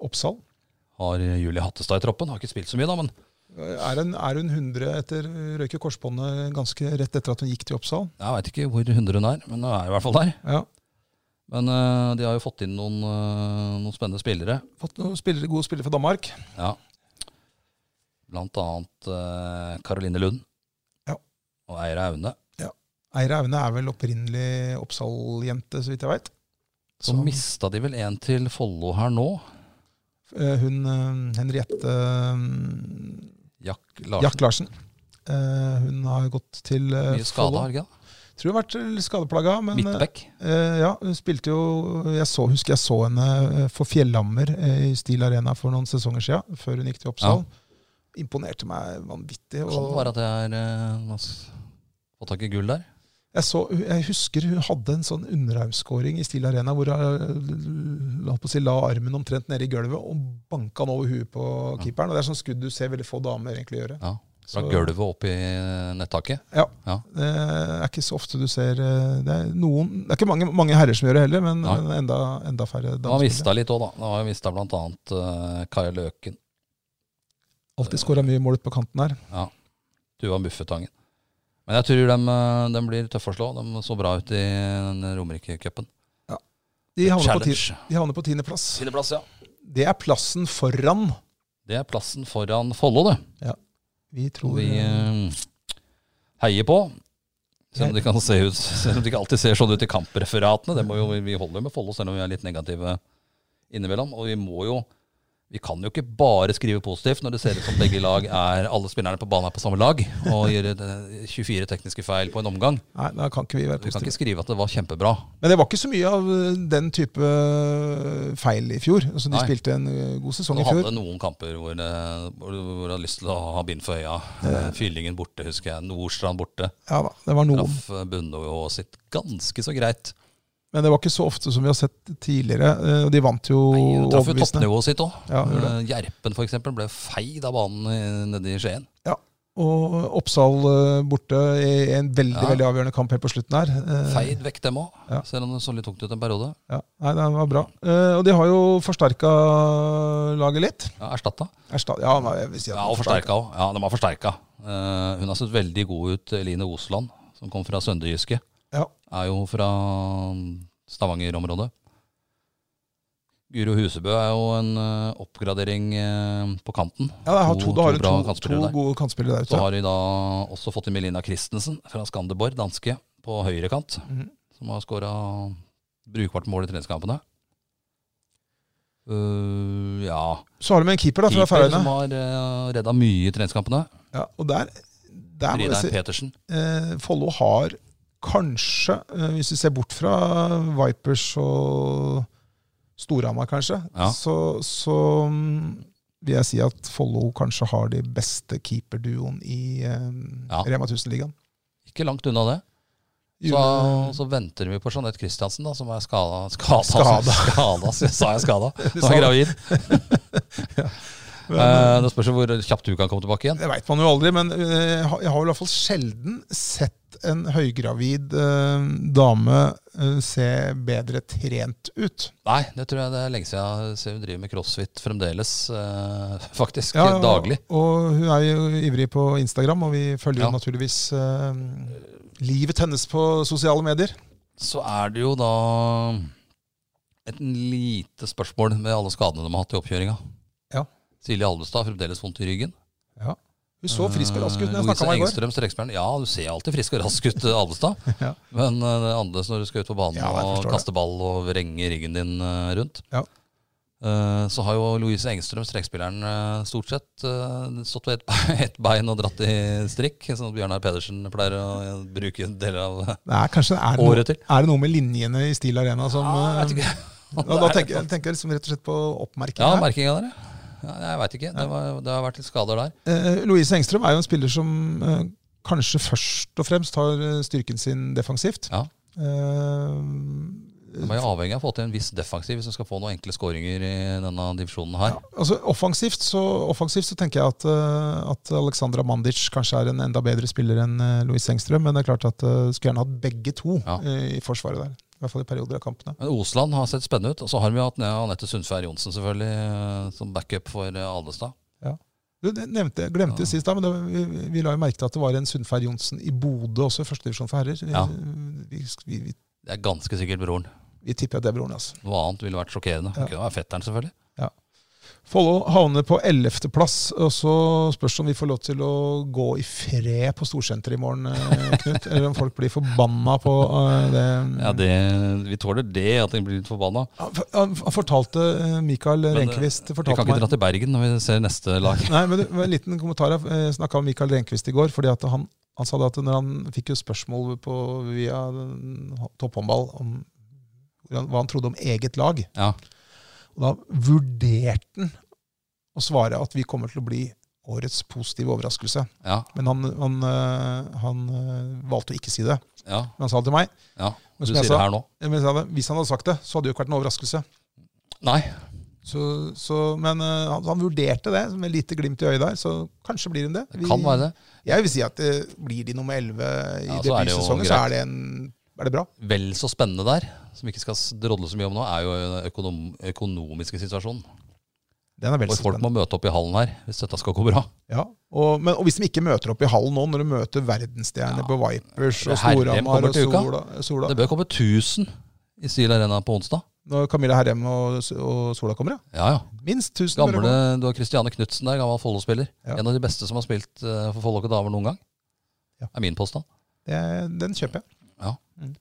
B: Oppsal.
A: Har Julie Hattestad i troppen. Har ikke spilt så mye, da, men
B: Er hun, er hun 100 etter røyke korsbåndet ganske rett etter at hun gikk til Oppsal?
A: jeg veit ikke hvor 100 hun er. Men hun er i hvert fall der.
B: Ja.
A: Men eh, de har jo fått inn noen, eh, noen spennende spillere.
B: Fått noen spillere, gode spillere fra Danmark.
A: Ja. Blant annet eh, Karoline Lund.
B: Ja.
A: Og Eira Aune.
B: Eira Aune er vel opprinnelig Oppsal-jente, så vidt jeg veit.
A: Så mista de vel en til Follo her nå.
B: Hun eh, Henriette eh,
A: Jack Larsen.
B: Jack Larsen. Eh, Hun har gått til eh,
A: Mye skada,
B: Follo.
A: har ikke det?
B: Tror hun har vært eh, litt skadeplaga, men eh,
A: Midtback.
B: eh, ja, hun spilte jo jeg så, Husker jeg så henne eh, for Fjellhammer eh, i Stil Arena for noen sesonger siden, før hun gikk til Oppsal. Imponerte meg vanvittig.
A: Kan det
B: Og
A: være Sånn at jeg er uh, fått tak i gull der?
B: jeg, så, jeg husker hun hadde en sånn underarmsskåring i Stil Arena hvor hun eh, holdt på å si, la armen omtrent nede i gulvet og banka den over huet på
A: Ja.
B: keeperen. Og Det er sånn skudd du ser veldig få damer egentlig gjøre.
A: Ja, Fra
B: Så- eh,
A: gulvet opp i eh, nettaket?
B: Det er ikke så ofte du ser eh, Det er, noen, det er ikke mange, mange herrer som gjør det heller, men
A: Nei.
B: men enda, enda færre
A: De har
B: damer.
A: mista litt òg, da. De har mista blant annet eh, Kaja Løken.
B: Alltid skåra mye mål ut på kanten her.
A: Tuva Muffetangen. Men jeg tror de, eh, de blir tøffe å slå. De så bra ut i den Romerike-cupen.
B: De havner på, ti,
A: Challenge.
B: de havner på tiendeplass.
A: Tiendeplass, ja.
B: Det er plassen foran.
A: Det er plassen foran Follo, det.
B: Vi
A: Som
B: tror
A: vi
B: eh,
A: eh, heier på. Selv om, de kan se ut, selv om de ikke alltid ser sånn ut i kampreferatene. Det må jo, vi holder jo med Follo, selv om vi er litt negative innimellom. Og vi må jo Vi kan jo ikke bare skrive positivt når det ser ut som begge lag er alle spillerne på banen er på samme lag og gjør eh, 24 tekniske feil på en omgang.
B: Nei, da kan ikke vi være
A: Vi kan
B: positive.
A: ikke skrive at det var kjempebra.
B: Men det var ikke så mye av eh, den type feil i fjor. Altså, de
A: Nei.
B: spilte en eh, god sesong
A: Du
B: i fjor.
A: hadde noen kamper hvor, eh, hvor du hvor du hadde lyst til å ha bind for øya. Eh, Fyllingen borte, husker jeg. Nordstrand borte.
B: Ja da, det var noen.
A: Traff eh, Bundeå sitt ganske så greit.
B: Men det var ikke så ofte som vi har sett tidligere. eh, Og de vant jo
A: Nei, Hun traff jo
B: overbevisende.
A: toppnivået sitt òg.
B: Ja, hun gjorde
A: Gjerpen for eksempel ble feid av banen i- nede i Skien.
B: Ja. Og Oppsal eh, borte i en veldig
A: Mm. Ja.
B: veldig avgjørende kamp helt på slutten her. Eh,
A: Feid vekk dem òg,
B: Ja.
A: selv om det så litt tungt ut en periode.
B: Ja. Nei, det var bra. Eh, og de har jo forsterka laget litt.
A: Ja, Erstatta.
B: Ersta ja, nei, jeg vil si at
A: Ja, og forsterka òg. Ja, de har forsterka. Eh, hun har sett veldig god ut, Eline Osland, som kom fra Sønderjyske.
B: Ja.
A: Er jo fra Stavanger-området. Guro Husebø er jo en eh, oppgradering eh, på kanten.
B: Ja, jeg har to,
A: To-
B: da har
A: to
B: hun
A: bra
B: to, to,
A: kantspillere der.
B: gode kantspillere der
A: Så
B: ute.
A: har de da også fått inn Melina Christensen fra Skanderborg, danske, på høyrekant.
B: Mhm.
A: Som har skåra brukbart mål i treningskampene. Eh, ja
B: Så har de en keeper da, fra
A: Keeper som
B: Færøyene.
A: har uh, redda mye i treningskampene.
B: Ja, og der, der må jeg
A: Reidar
B: si
A: Petersen.
B: eh, Follo har kanskje, eh, hvis vi ser bort fra Vipers og Storhamar, kanskje,
A: Ja.
B: så, så mm, vil jeg si at Follo kanskje har de beste keeperduoen i eh,
A: Ja.
B: Rema 1000-ligaen.
A: Ikke langt unna det. Så,
B: Jule-
A: så venter vi på Jeanette Christiansen, da, som er skada. Skada, altså.
B: Skada.
A: skada så sa jeg skada. Som er
B: sa det.
A: gravid.
B: Men,
A: Eh, det spørs jo hvor kjapt du kan komme tilbake igjen.
B: Det veit man jo aldri, men eh, jeg har jeg har i hvert fall sjelden sett en høygravid eh, dame eh, se bedre trent ut.
A: Nei, det tror jeg det er lenge siden jeg ser hun driver med crossfit fremdeles. eh, faktisk.
B: Ja, og-
A: Daglig.
B: Og hun er jo ivrig på Instagram, og vi følger
A: Ja.
B: jo naturligvis eh, livet hennes på sosiale medier.
A: Så er det jo da et lite spørsmål med alle skadene de har hatt i oppkjøringa.
B: Ja.
A: Silje Alvestad har fremdeles vondt i ryggen.
B: Hun så frisk og rask ut når jeg
A: Louise
B: snakka med henne i går.
A: Engstrøm, strekspilleren. Ja, du ser alltid frisk og rask ut, eh, Alvestad.
B: Ja.
A: Men eh, det er annerledes når du skal ut på banen
B: Ja, jeg
A: og
B: forstår det.
A: kaste ball og vrenge ryggen din eh, rundt.
B: Ja.
A: Eh, Så har jo Louise Engstrøm, strekspilleren, eh, stort sett eh, stått på ett be- ett bein og dratt i strikk, sånn at Bjørnar Pedersen pleier å eh, bruke deler av eh,
B: Det er kanskje er det, noe,
A: året til.
B: er det noe med linjene i Stil Arena som
A: Ja, jeg
B: eh,
A: vet ikke.
B: da, da tenker, jeg- tenker jeg liksom rett og slett på oppmerkinga.
A: Ja, merkinga der, ja. Ja, Jeg veit ikke. Det, var, det har vært litt skader der.
B: Eh, Louise Engstrøm er jo en spiller som eh, kanskje først og fremst har eh, styrken sin defensivt.
A: Ja.
B: Eh,
A: De er jo avhengig av å få til en viss defensiv hvis de skal få noen enkle skåringer i denne divisjonen her.
B: ja, altså offensivt så, offensivt så tenker jeg at, eh, at Alexandra Mandic kanskje er en enda bedre spiller enn eh, Louise Engstrøm, men det er klart at eh, skulle gjerne hatt begge to
A: Ja.
B: eh, i forsvaret der. I hvert fall i perioder av kampene.
A: Men Osland har sett spennende ut. Og så har vi hatt Anette Sundfjær Johnsen selvfølgelig eh, som backup for eh, Alvestad.
B: Du det nevnte, jeg glemte
A: Ja.
B: det sist, da, men det, vi, vi la jo merke til at det var en Sundferd Johnsen i Bodø også, i førstedivisjon for herrer. Vi,
A: Ja.
B: vi, vi, vi,
A: Det er ganske sikkert broren.
B: vi tipper at det er broren, altså.
A: Noe annet ville vært sjokkerende.
B: Ja.
A: Kunne vært fetteren, selvfølgelig.
B: Follo havner på 11. plass, og så spørs det om vi får lov til å gå i fred på Storsenteret i morgen, eh, Knut. Eller om folk blir forbanna på eh, det.
A: Ja, det, Vi tåler det, at den blir litt forbanna.
B: Han for- Han han fortalte eh, Mikael
A: det-
B: Rehnquist
A: Vi kan
B: fortalte
A: ikke dra
B: meg
A: til Bergen når vi ser neste lag.
B: Nei, men det var En liten kommentar. Jeg snakka med Mikael Rehnquist i går. fordi at han, han sa det at når han fikk jo spørsmål på, via eh, topphåndball om hvordan- hva han trodde om eget lag,
A: Ja.
B: og da vurderte han å svare at vi kommer til å bli årets positive overraskelse.
A: Ja.
B: Men han, han, øh, han øh, valgte å ikke si det.
A: ja.
B: Men han sa det til meg.
A: ja. Du
B: Men som
A: sier
B: jeg
A: det
B: sa,
A: her nå.
B: men jeg sa det, hvis han hadde sagt det, så hadde det jo ikke vært en overraskelse.
A: Nei.
B: Så, så, men øh, han, han vurderte det med lite glimt i øyet der, så kanskje blir han det.
A: Det kan være det.
B: Jeg vil si at øh, blir de nummer 11 i
A: Ja, så er det jo
B: debutsesongen, så
A: greit.
B: er det, en, er det bra.
A: Vel så spennende der, som vi ikke skal s- drodle så mye om nå, er jo den økonom økonomiske situasjonen.
B: Den er vel
A: Og
B: så
A: folk må
B: spennende.
A: møte opp i hallen her hvis dette skal gå bra.
B: Ja. Og, men, og hvis de ikke møter opp i hallen nå, når de møter verdensstjerner
A: Ja.
B: på Vipers og
A: Det er Herrem
B: Storhamar
A: kommer
B: og
A: til uka.
B: Sola, Sola.
A: Det bør komme 1000 i Stil Arena på onsdag.
B: Når Camilla Herrem og, og Sola kommer, ja.
A: Ja, ja.
B: Minst 1000 bør det
A: Gamle, du har Kristiane Knutsen der, gammel Follo-spiller.
B: Ja.
A: En av de beste som har spilt eh, for Follo og damer noen gang.
B: Ja.
A: er min påstand.
B: Det, den kjøper jeg.
A: Ja.
B: Mm.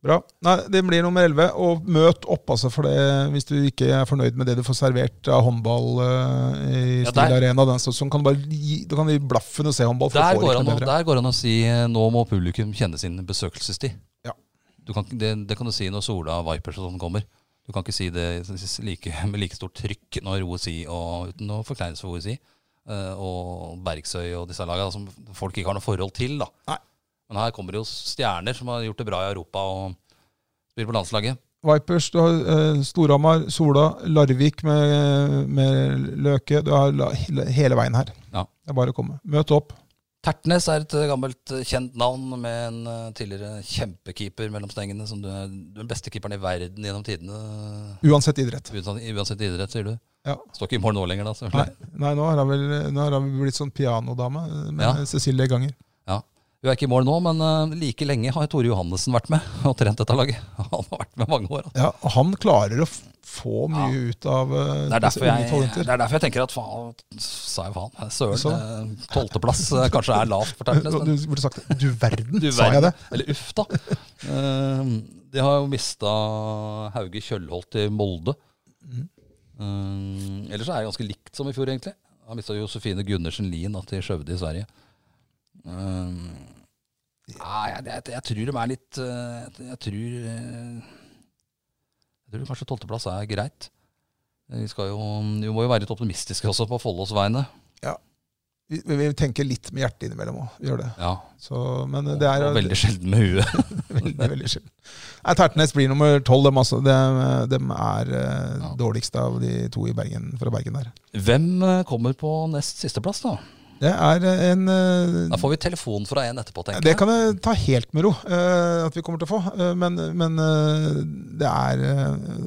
B: Bra. Nei, det blir nummer 11. Og møt opp, altså, for det, hvis du ikke er fornøyd med det du får servert av håndball eh, i
A: Ja,
B: Stil
A: der-
B: Arena, den sesongen, kan du bare gi, du kan gi blaffen og se håndball. For
A: Der
B: du får
A: går,
B: ikke
A: an,
B: noe
A: å-
B: bedre.
A: der går an å si eh, nå må publikum kjenne sin besøkelsestid.
B: Ja.
A: Du kan, ikke- det, det kan du si når Sola Vipers og sånn kommer. Du kan ikke si det s- like, med like stort trykk når OSI, og, uten å forkleinelse for OSI, eh, og Bergsøy og disse lagene som folk ikke har noe forhold til. da.
B: Nei.
A: Men her kommer det jo stjerner som har gjort det bra i Europa og spiller på landslaget.
B: Vipers, du har eh, Storhamar, Sola, Larvik med, med Løke. Du har la, hele- hele veien her.
A: Ja.
B: Det er bare å komme. Møt opp.
A: Tertnes er et eh, gammelt eh, kjent navn med en eh, tidligere kjempekeeper mellom stengene. Som du er du er den beste keeperen i verden gjennom tidene.
B: Uansett idrett.
A: Uansett, uansett idrett, sier du.
B: Ja.
A: Står ikke i mål nå lenger, da. selvfølgelig.
B: Nei, nei nå, har jeg vel, nå har jeg blitt sånn pianodame med
A: Ja.
B: Cecilie Ganger.
A: Hun er ikke i mål nå, men eh, like lenge har Tore Johannessen vært med og trent dette laget. Han har vært med mange år. altså.
B: Ja, og han klarer å f- få mye ut av eh,
A: Det er,
B: disse
A: derfor
B: unge
A: jeg,
B: talenter.
A: det er derfor jeg tenker at faen, sa jeg faen,
B: Så.
A: søren, eh, tolvteplass eh, kanskje er lavt for Tertnes.
B: Og
A: men-
B: Du burde sagt 'du verden',
A: liksom. Du
B: sa jeg det.
A: verden. Eller uff, da. Eh, de har jo mista Hauge Kjølholt til Molde. Eh, ellers er det ganske likt som i fjor, egentlig. Har mista Josefine Gundersen Lien da, til Skjøvde i Sverige. Ehm, Eh, nei, jeg, jeg, jeg tror de er litt eh, Jeg tror eh, Jeg tror kanskje tolvteplass er greit. Vi, skal jo, vi må jo være litt optimistiske også på Follos vegne.
B: Vi, vi tenker litt med hjertet innimellom òg. Vi gjør det.
A: Ja,
B: Så, men
A: og,
B: det er
A: og veldig sjelden med huet.
B: veldig, veldig sjelden. Nei, Tertnes blir nummer tolv. Dem, altså. dem, dem er eh,
A: Ja.
B: dårligst av de to i Bergen, fra Bergen der.
A: Hvem eh, kommer på nest sisteplass, da?
B: Det er eh, en eh,
A: Da får vi telefon fra en etterpå, tenker
B: Det
A: jeg.
B: kan jeg ta helt med ro eh, at vi kommer til å få. Eh, men men eh, det er eh,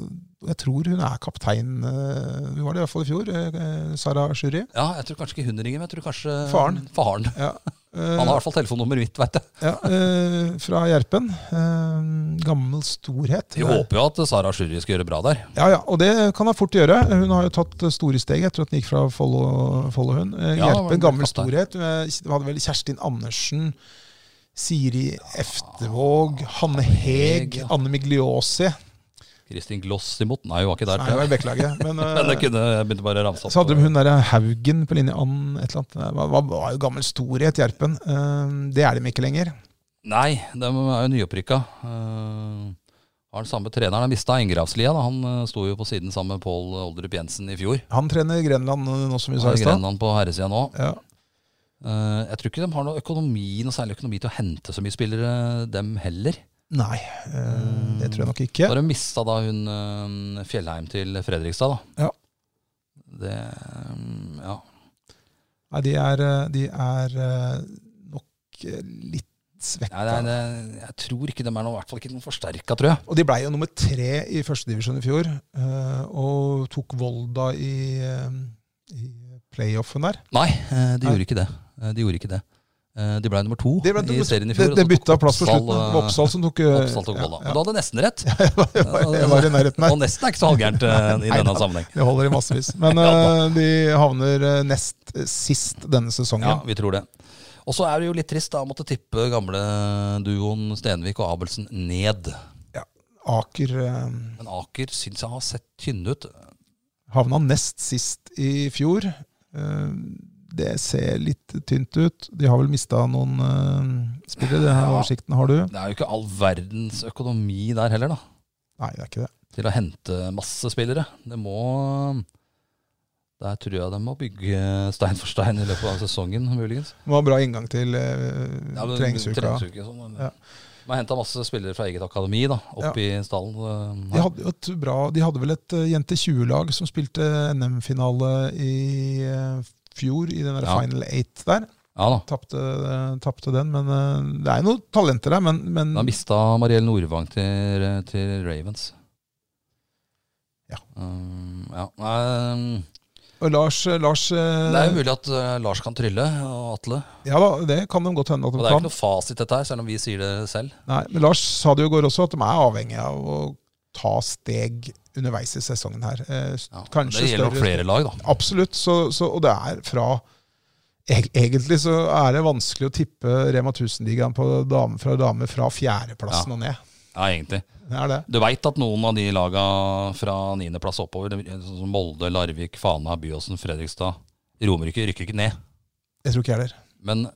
B: Jeg tror hun er kaptein. eh, hun var det i hvert fall i fjor. eh, Sara Sjuri.
A: Ja, jeg tror kanskje ikke hun ringer, men jeg tror kanskje
B: Faren.
A: Faren.
B: Ja. eh,
A: Han har i hvert fall telefonnummeret mitt, veit jeg.
B: ja, eh, fra Gjerpen. Eh, gammel storhet.
A: Vi håper jo at Sara Sjuri skal gjøre bra der.
B: Ja, ja, og det kan hun fort gjøre. Hun har jo tatt store steg etter at hun gikk fra Follo, Follo hun. Eh,
A: Ja,
B: Hjelpe
A: men
B: en gammel
A: flott,
B: storhet. Eh, Det hadde vel Kjerstin Andersen, Siri Eftevåg, Hanne Heg,
A: ja.
B: Anne Migliosi.
A: Kristin Gloss imot. Nei, hun var ikke der.
B: Nei,
A: tror jeg.
B: det var beklager. Men, eh,
A: Men jeg, kunne, jeg begynte bare å ramse opp.
B: så hadde de hun der eh, Haugen på linje Ann et eller annet. Det var, var, var jo gammel storhet, Gjerpen. Eh, Det er de ikke lenger.
A: Nei, de er jo nyopprykka. Eh, har den samme treneren. Har mista Engravslia. da. Han eh, sto jo på siden sammen med Pål Oldrup Jensen i fjor.
B: Han trener Grenland eh, nå, som vi
A: Så
B: sa
A: er
B: i stad.
A: Grenland på herresida nå.
B: Ja.
A: Eh, jeg tror ikke de har noe økonomi, noe særlig økonomi til å hente så mye spillere, dem heller.
B: Nei, eh, det tror jeg nok
A: Da
B: ikke.
A: har de mista da hun eh, Fjellheim til Fredrikstad, da.
B: Ja.
A: Det mm, Ja.
B: Nei, de er, eh, de er eh, nok eh, litt svekka.
A: Nei, nei, det- jeg tror ikke de er noe, i hvert fall ikke noen forsterka, tror jeg.
B: Og de blei jo nummer tre i førstedivisjon i fjor, eh, og tok Volda i, eh, i playoffen der.
A: Nei, eh, de
B: Nei.
A: gjorde ikke det. Eh, De gjorde ikke det. Eh, De ble nummer to
B: Det ble-
A: i serien i
B: det,
A: fjor. og
B: det
A: så tok
B: bytta plass på
A: Oppsal,
B: slutten. Det var
A: eh,
B: Oppsal som tok eh,
A: Oppsal tok Volda.
B: ja,
A: Men du hadde nesten rett.
B: ja. Jeg var i nærheten her.
A: Og nesten er ikke så halvgærent eh, i
B: Nei
A: denne
B: da.
A: sammenheng.
B: Det holder i massevis. Men
A: Ja,
B: eh, de havner eh, nest sist denne sesongen.
A: Ja, vi tror det. Og så er det jo litt trist da å måtte tippe gamle duoen Stenvik og Abelsen ned.
B: Aker eh,
A: Men Aker syns jeg har sett tynne ut.
B: havna nest sist i fjor. Eh, Det ser litt tynt ut. De har vel mista noen eh, spillere. Denne
A: Ja.
B: oversikten har du.
A: Det er jo ikke all verdens økonomi der heller, da.
B: Nei, det er ikke det.
A: Til å hente masse spillere. Det må Der tror jeg de må bygge stein for stein i løpet av sesongen, muligens.
B: Det var en bra inngang til eh,
A: Ja, men
B: treningsuka.
A: treningsuke og sånn.
B: Ja.
A: De har henta masse spillere fra eget akademi da, opp i stallen. eh, så-
B: De hadde, jo et bra, de hadde vel et eh, jente 20-lag som spilte NM-finale i eh, fjor, i den der
A: Ja.
B: final eight der.
A: Ja da.
B: Tapte, eh, tapte den, men eh, det er jo noen talenter der. Men, men
A: De har mista Mariell Nordvang til, eh, til Ravens.
B: Ja.
A: Um, ja. Nei,
B: og Lars, eh, Lars eh,
A: det er jo mulig at eh, Lars kan trylle, og Atle.
B: Ja da, det kan de godt hende at
A: Og
B: de
A: det er jo ikke noe
B: kan.
A: fasit dette her, selv om vi sier det selv.
B: Nei, men Lars sa det jo i går også, at de er avhengig av å ta steg underveis i sesongen her. Eh, s-
A: Ja.
B: Kanskje
A: det gjelder nok
B: større-
A: flere lag, da.
B: Absolutt. Så, så, og det er fra eg- Egentlig så er det vanskelig å tippe Rema 1000-ligaen på dame fra dame fra fjerdeplassen og ned.
A: Ja, egentlig.
B: Det er det.
A: Du veit at noen av de laga fra niendeplass oppover, det- sånn som Molde, Larvik, Fana, Byåsen, Fredrikstad, Romerike, rykker ikke ned.
B: Jeg tror ikke jeg heller.
A: Men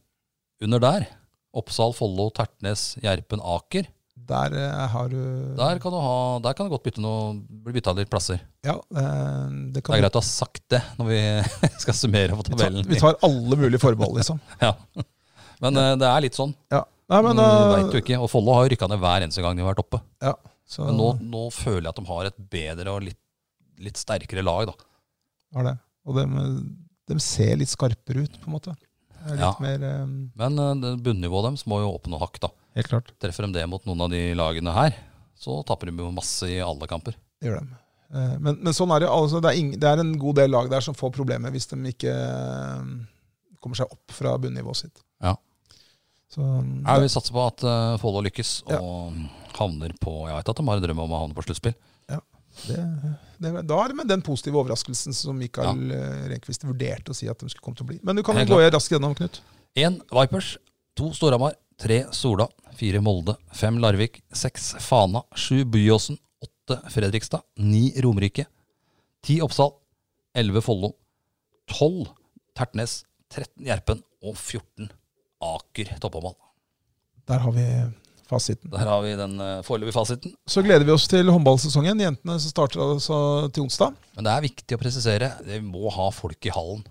A: under der, Oppsal, Follo, Tertnes, Gjerpen, Aker,
B: Der eh, har du
A: der kan du, ha, der kan du godt bytte noe, bli bytta litt plasser.
B: Ja, eh, det
A: Det er
B: kan
A: greit å ha sagt det når vi skal summere på
B: vi, tar,
A: tabellen.
B: vi tar alle mulige forbehold, liksom.
A: Ja. Men eh, det er litt sånn.
B: Ja. Nei, men
A: du
B: eh,
A: vet jo ikke. Og Follo har jo rykka ned hver eneste gang de har vært oppe.
B: ja. Så
A: Men nå, nå føler jeg at de har et bedre og litt, litt sterkere lag, da.
B: har det. Og de, de ser litt skarpere ut, på en måte. Det er Litt
A: Ja.
B: mer eh,
A: Men eh, det bunnivået deres må jo opp noe hakk, da.
B: Helt klart.
A: Treffer de det mot noen av de lagene her, så tapper de jo masse i alle kamper.
B: Det gjør de. Eh, Men, men sånn er det. Altså, det, er ing, det er en god del lag der som får problemer hvis de ikke eh, kommer seg opp fra bunnivået sitt.
A: Ja.
B: Så, um,
A: Nei, vi satser på at uh, Follo lykkes
B: Ja.
A: og mm, havner på Jeg vet at de har en drøm om å havne på sluttspill.
B: det, det, da er det med den positive overraskelsen som Mikael eh, Rehnquist vurderte å si at de skulle komme til å bli. Men du kan
A: Helt
B: jo gå raskt gjennom, Knut.
A: Én Vipers, to Storhamar, tre Sola, fire Molde, fem Larvik, seks Fana, sju Byåsen, åtte Fredrikstad, ni Romerike, ti Oppsal, elleve Follo, tolv Tertnes, 13 Gjerpen og 14 Aker Toppåmal.
B: Der har vi fasiten.
A: Der har vi den uh, foreløpige fasiten.
B: Så gleder vi oss til håndballsesongen. Jentene som starter altså til onsdag.
A: Men det er viktig å presisere, vi må ha folk i hallen.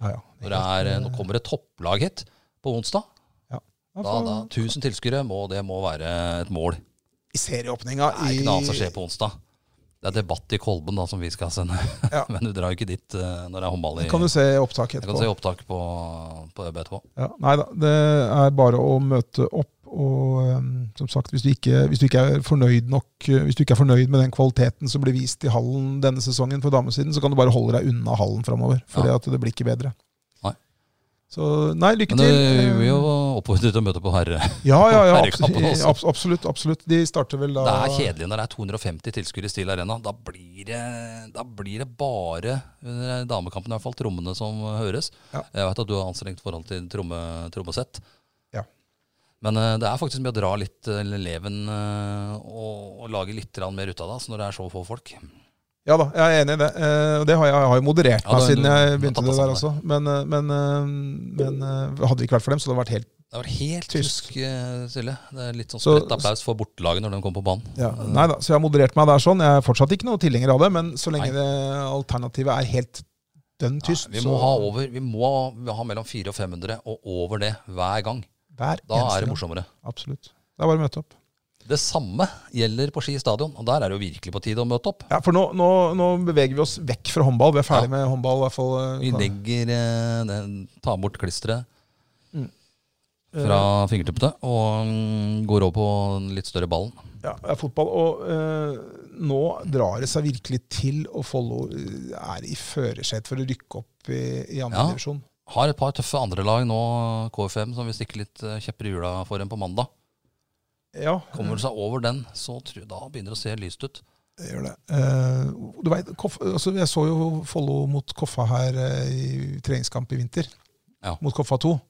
B: Ja, ja.
A: Når det er, eh, nå kommer et topplag hit på onsdag.
B: Ja,
A: Da,
B: for-
A: da, 1000 tilskuere, må, det må være et mål.
B: I serieåpninga
A: Det er ikke noe annet som skjer på onsdag. Det er debatt i Kolben da, som vi skal sende.
B: Ja.
A: Men du drar jo ikke dit eh, når det er håndball i
B: Kan du se opptaket
A: Jeg kan se
B: etterpå?
A: opptak på, på BTH.
B: Ja, nei da, det er bare å møte opp. Og ehm, som sagt, hvis du, ikke, hvis du ikke er fornøyd nok eh, Hvis du ikke er fornøyd med den kvaliteten som ble vist i hallen denne sesongen for damesiden, så kan du bare holde deg unna hallen framover. For
A: Ja.
B: at det blir ikke bedre.
A: Nei.
B: Så nei, lykke
A: Men det,
B: til.
A: vi vil jo
B: Eh,
A: oppfordre til å møte på herre.
B: Ja, ja, ja.
A: Herrekampen
B: Absolutt.
A: også.
B: Abs absolutt, absolutt. De starter vel da
A: Det er kjedelig når det er 250 tilskuere i Steel Arena. Da blir det, da blir det bare under damekampen i hvert fall trommene som høres.
B: Ja.
A: Jeg vet at du har anstrengt forhold til tromme, trommesett.
B: Ja.
A: Men eh, det er faktisk mye å dra litt eh, leven eh, og, og lage litt grann mer ut av det, altså når det er så få folk.
B: Ja da, jeg er enig i det. Eh, Og det har jeg, jeg har jo moderert
A: Ja,
B: meg
A: det-
B: siden jeg
A: du-
B: begynte
A: du har
B: det
A: tatt
B: der også. Men, eh, men, eh, men eh, hadde det ikke vært for dem, så hadde det vært helt
A: Det var helt
B: Tysk.
A: tysk, eh, Silje. Det er litt sånn
B: Så-
A: spredt applaus for bortelaget når de kom på banen.
B: Ja, nei da, så jeg har moderert meg der sånn. Jeg er fortsatt ikke noe tilhenger av det, men så lenge
A: Nei.
B: det alternativet er helt dønn tyst,
A: Nei, vi må
B: så
A: ha over, vi må ha mellom 400 og 500 og over det hver gang.
B: hver
A: Da
B: eneste
A: er det
B: gang.
A: morsommere.
B: Absolutt. Det er bare å møte opp.
A: Det samme gjelder på Ski stadion, og der er det jo virkelig på tide å møte opp.
B: Ja, For nå, nå, nå beveger vi oss vekk fra håndball. Vi er ferdig
A: Ja.
B: med håndball. i hvert fall. eh,
A: Vi
B: kan-
A: legger eh, den, tar bort klisteret
B: eh,
A: fra fingertuppene og mm, går over på den litt større ballen.
B: Ja, det er fotball. Og eh, nå drar det seg virkelig til, og Follo eh, er i førersetet for å rykke opp i, i andre
A: Ja.
B: divisjon.
A: Har et par tøffe andre lag nå, KFM, som vil stikke litt eh, kjepper i hjula for en på mandag.
B: Ja,
A: Kommer det seg over den, så tror jeg da begynner det å se lyst ut.
B: det gjør det. Eh, du vet, Koff, altså, jeg så jo Follo mot Koffa her eh, i treningskamp i vinter.
A: Ja.
B: Mot Koffa 2.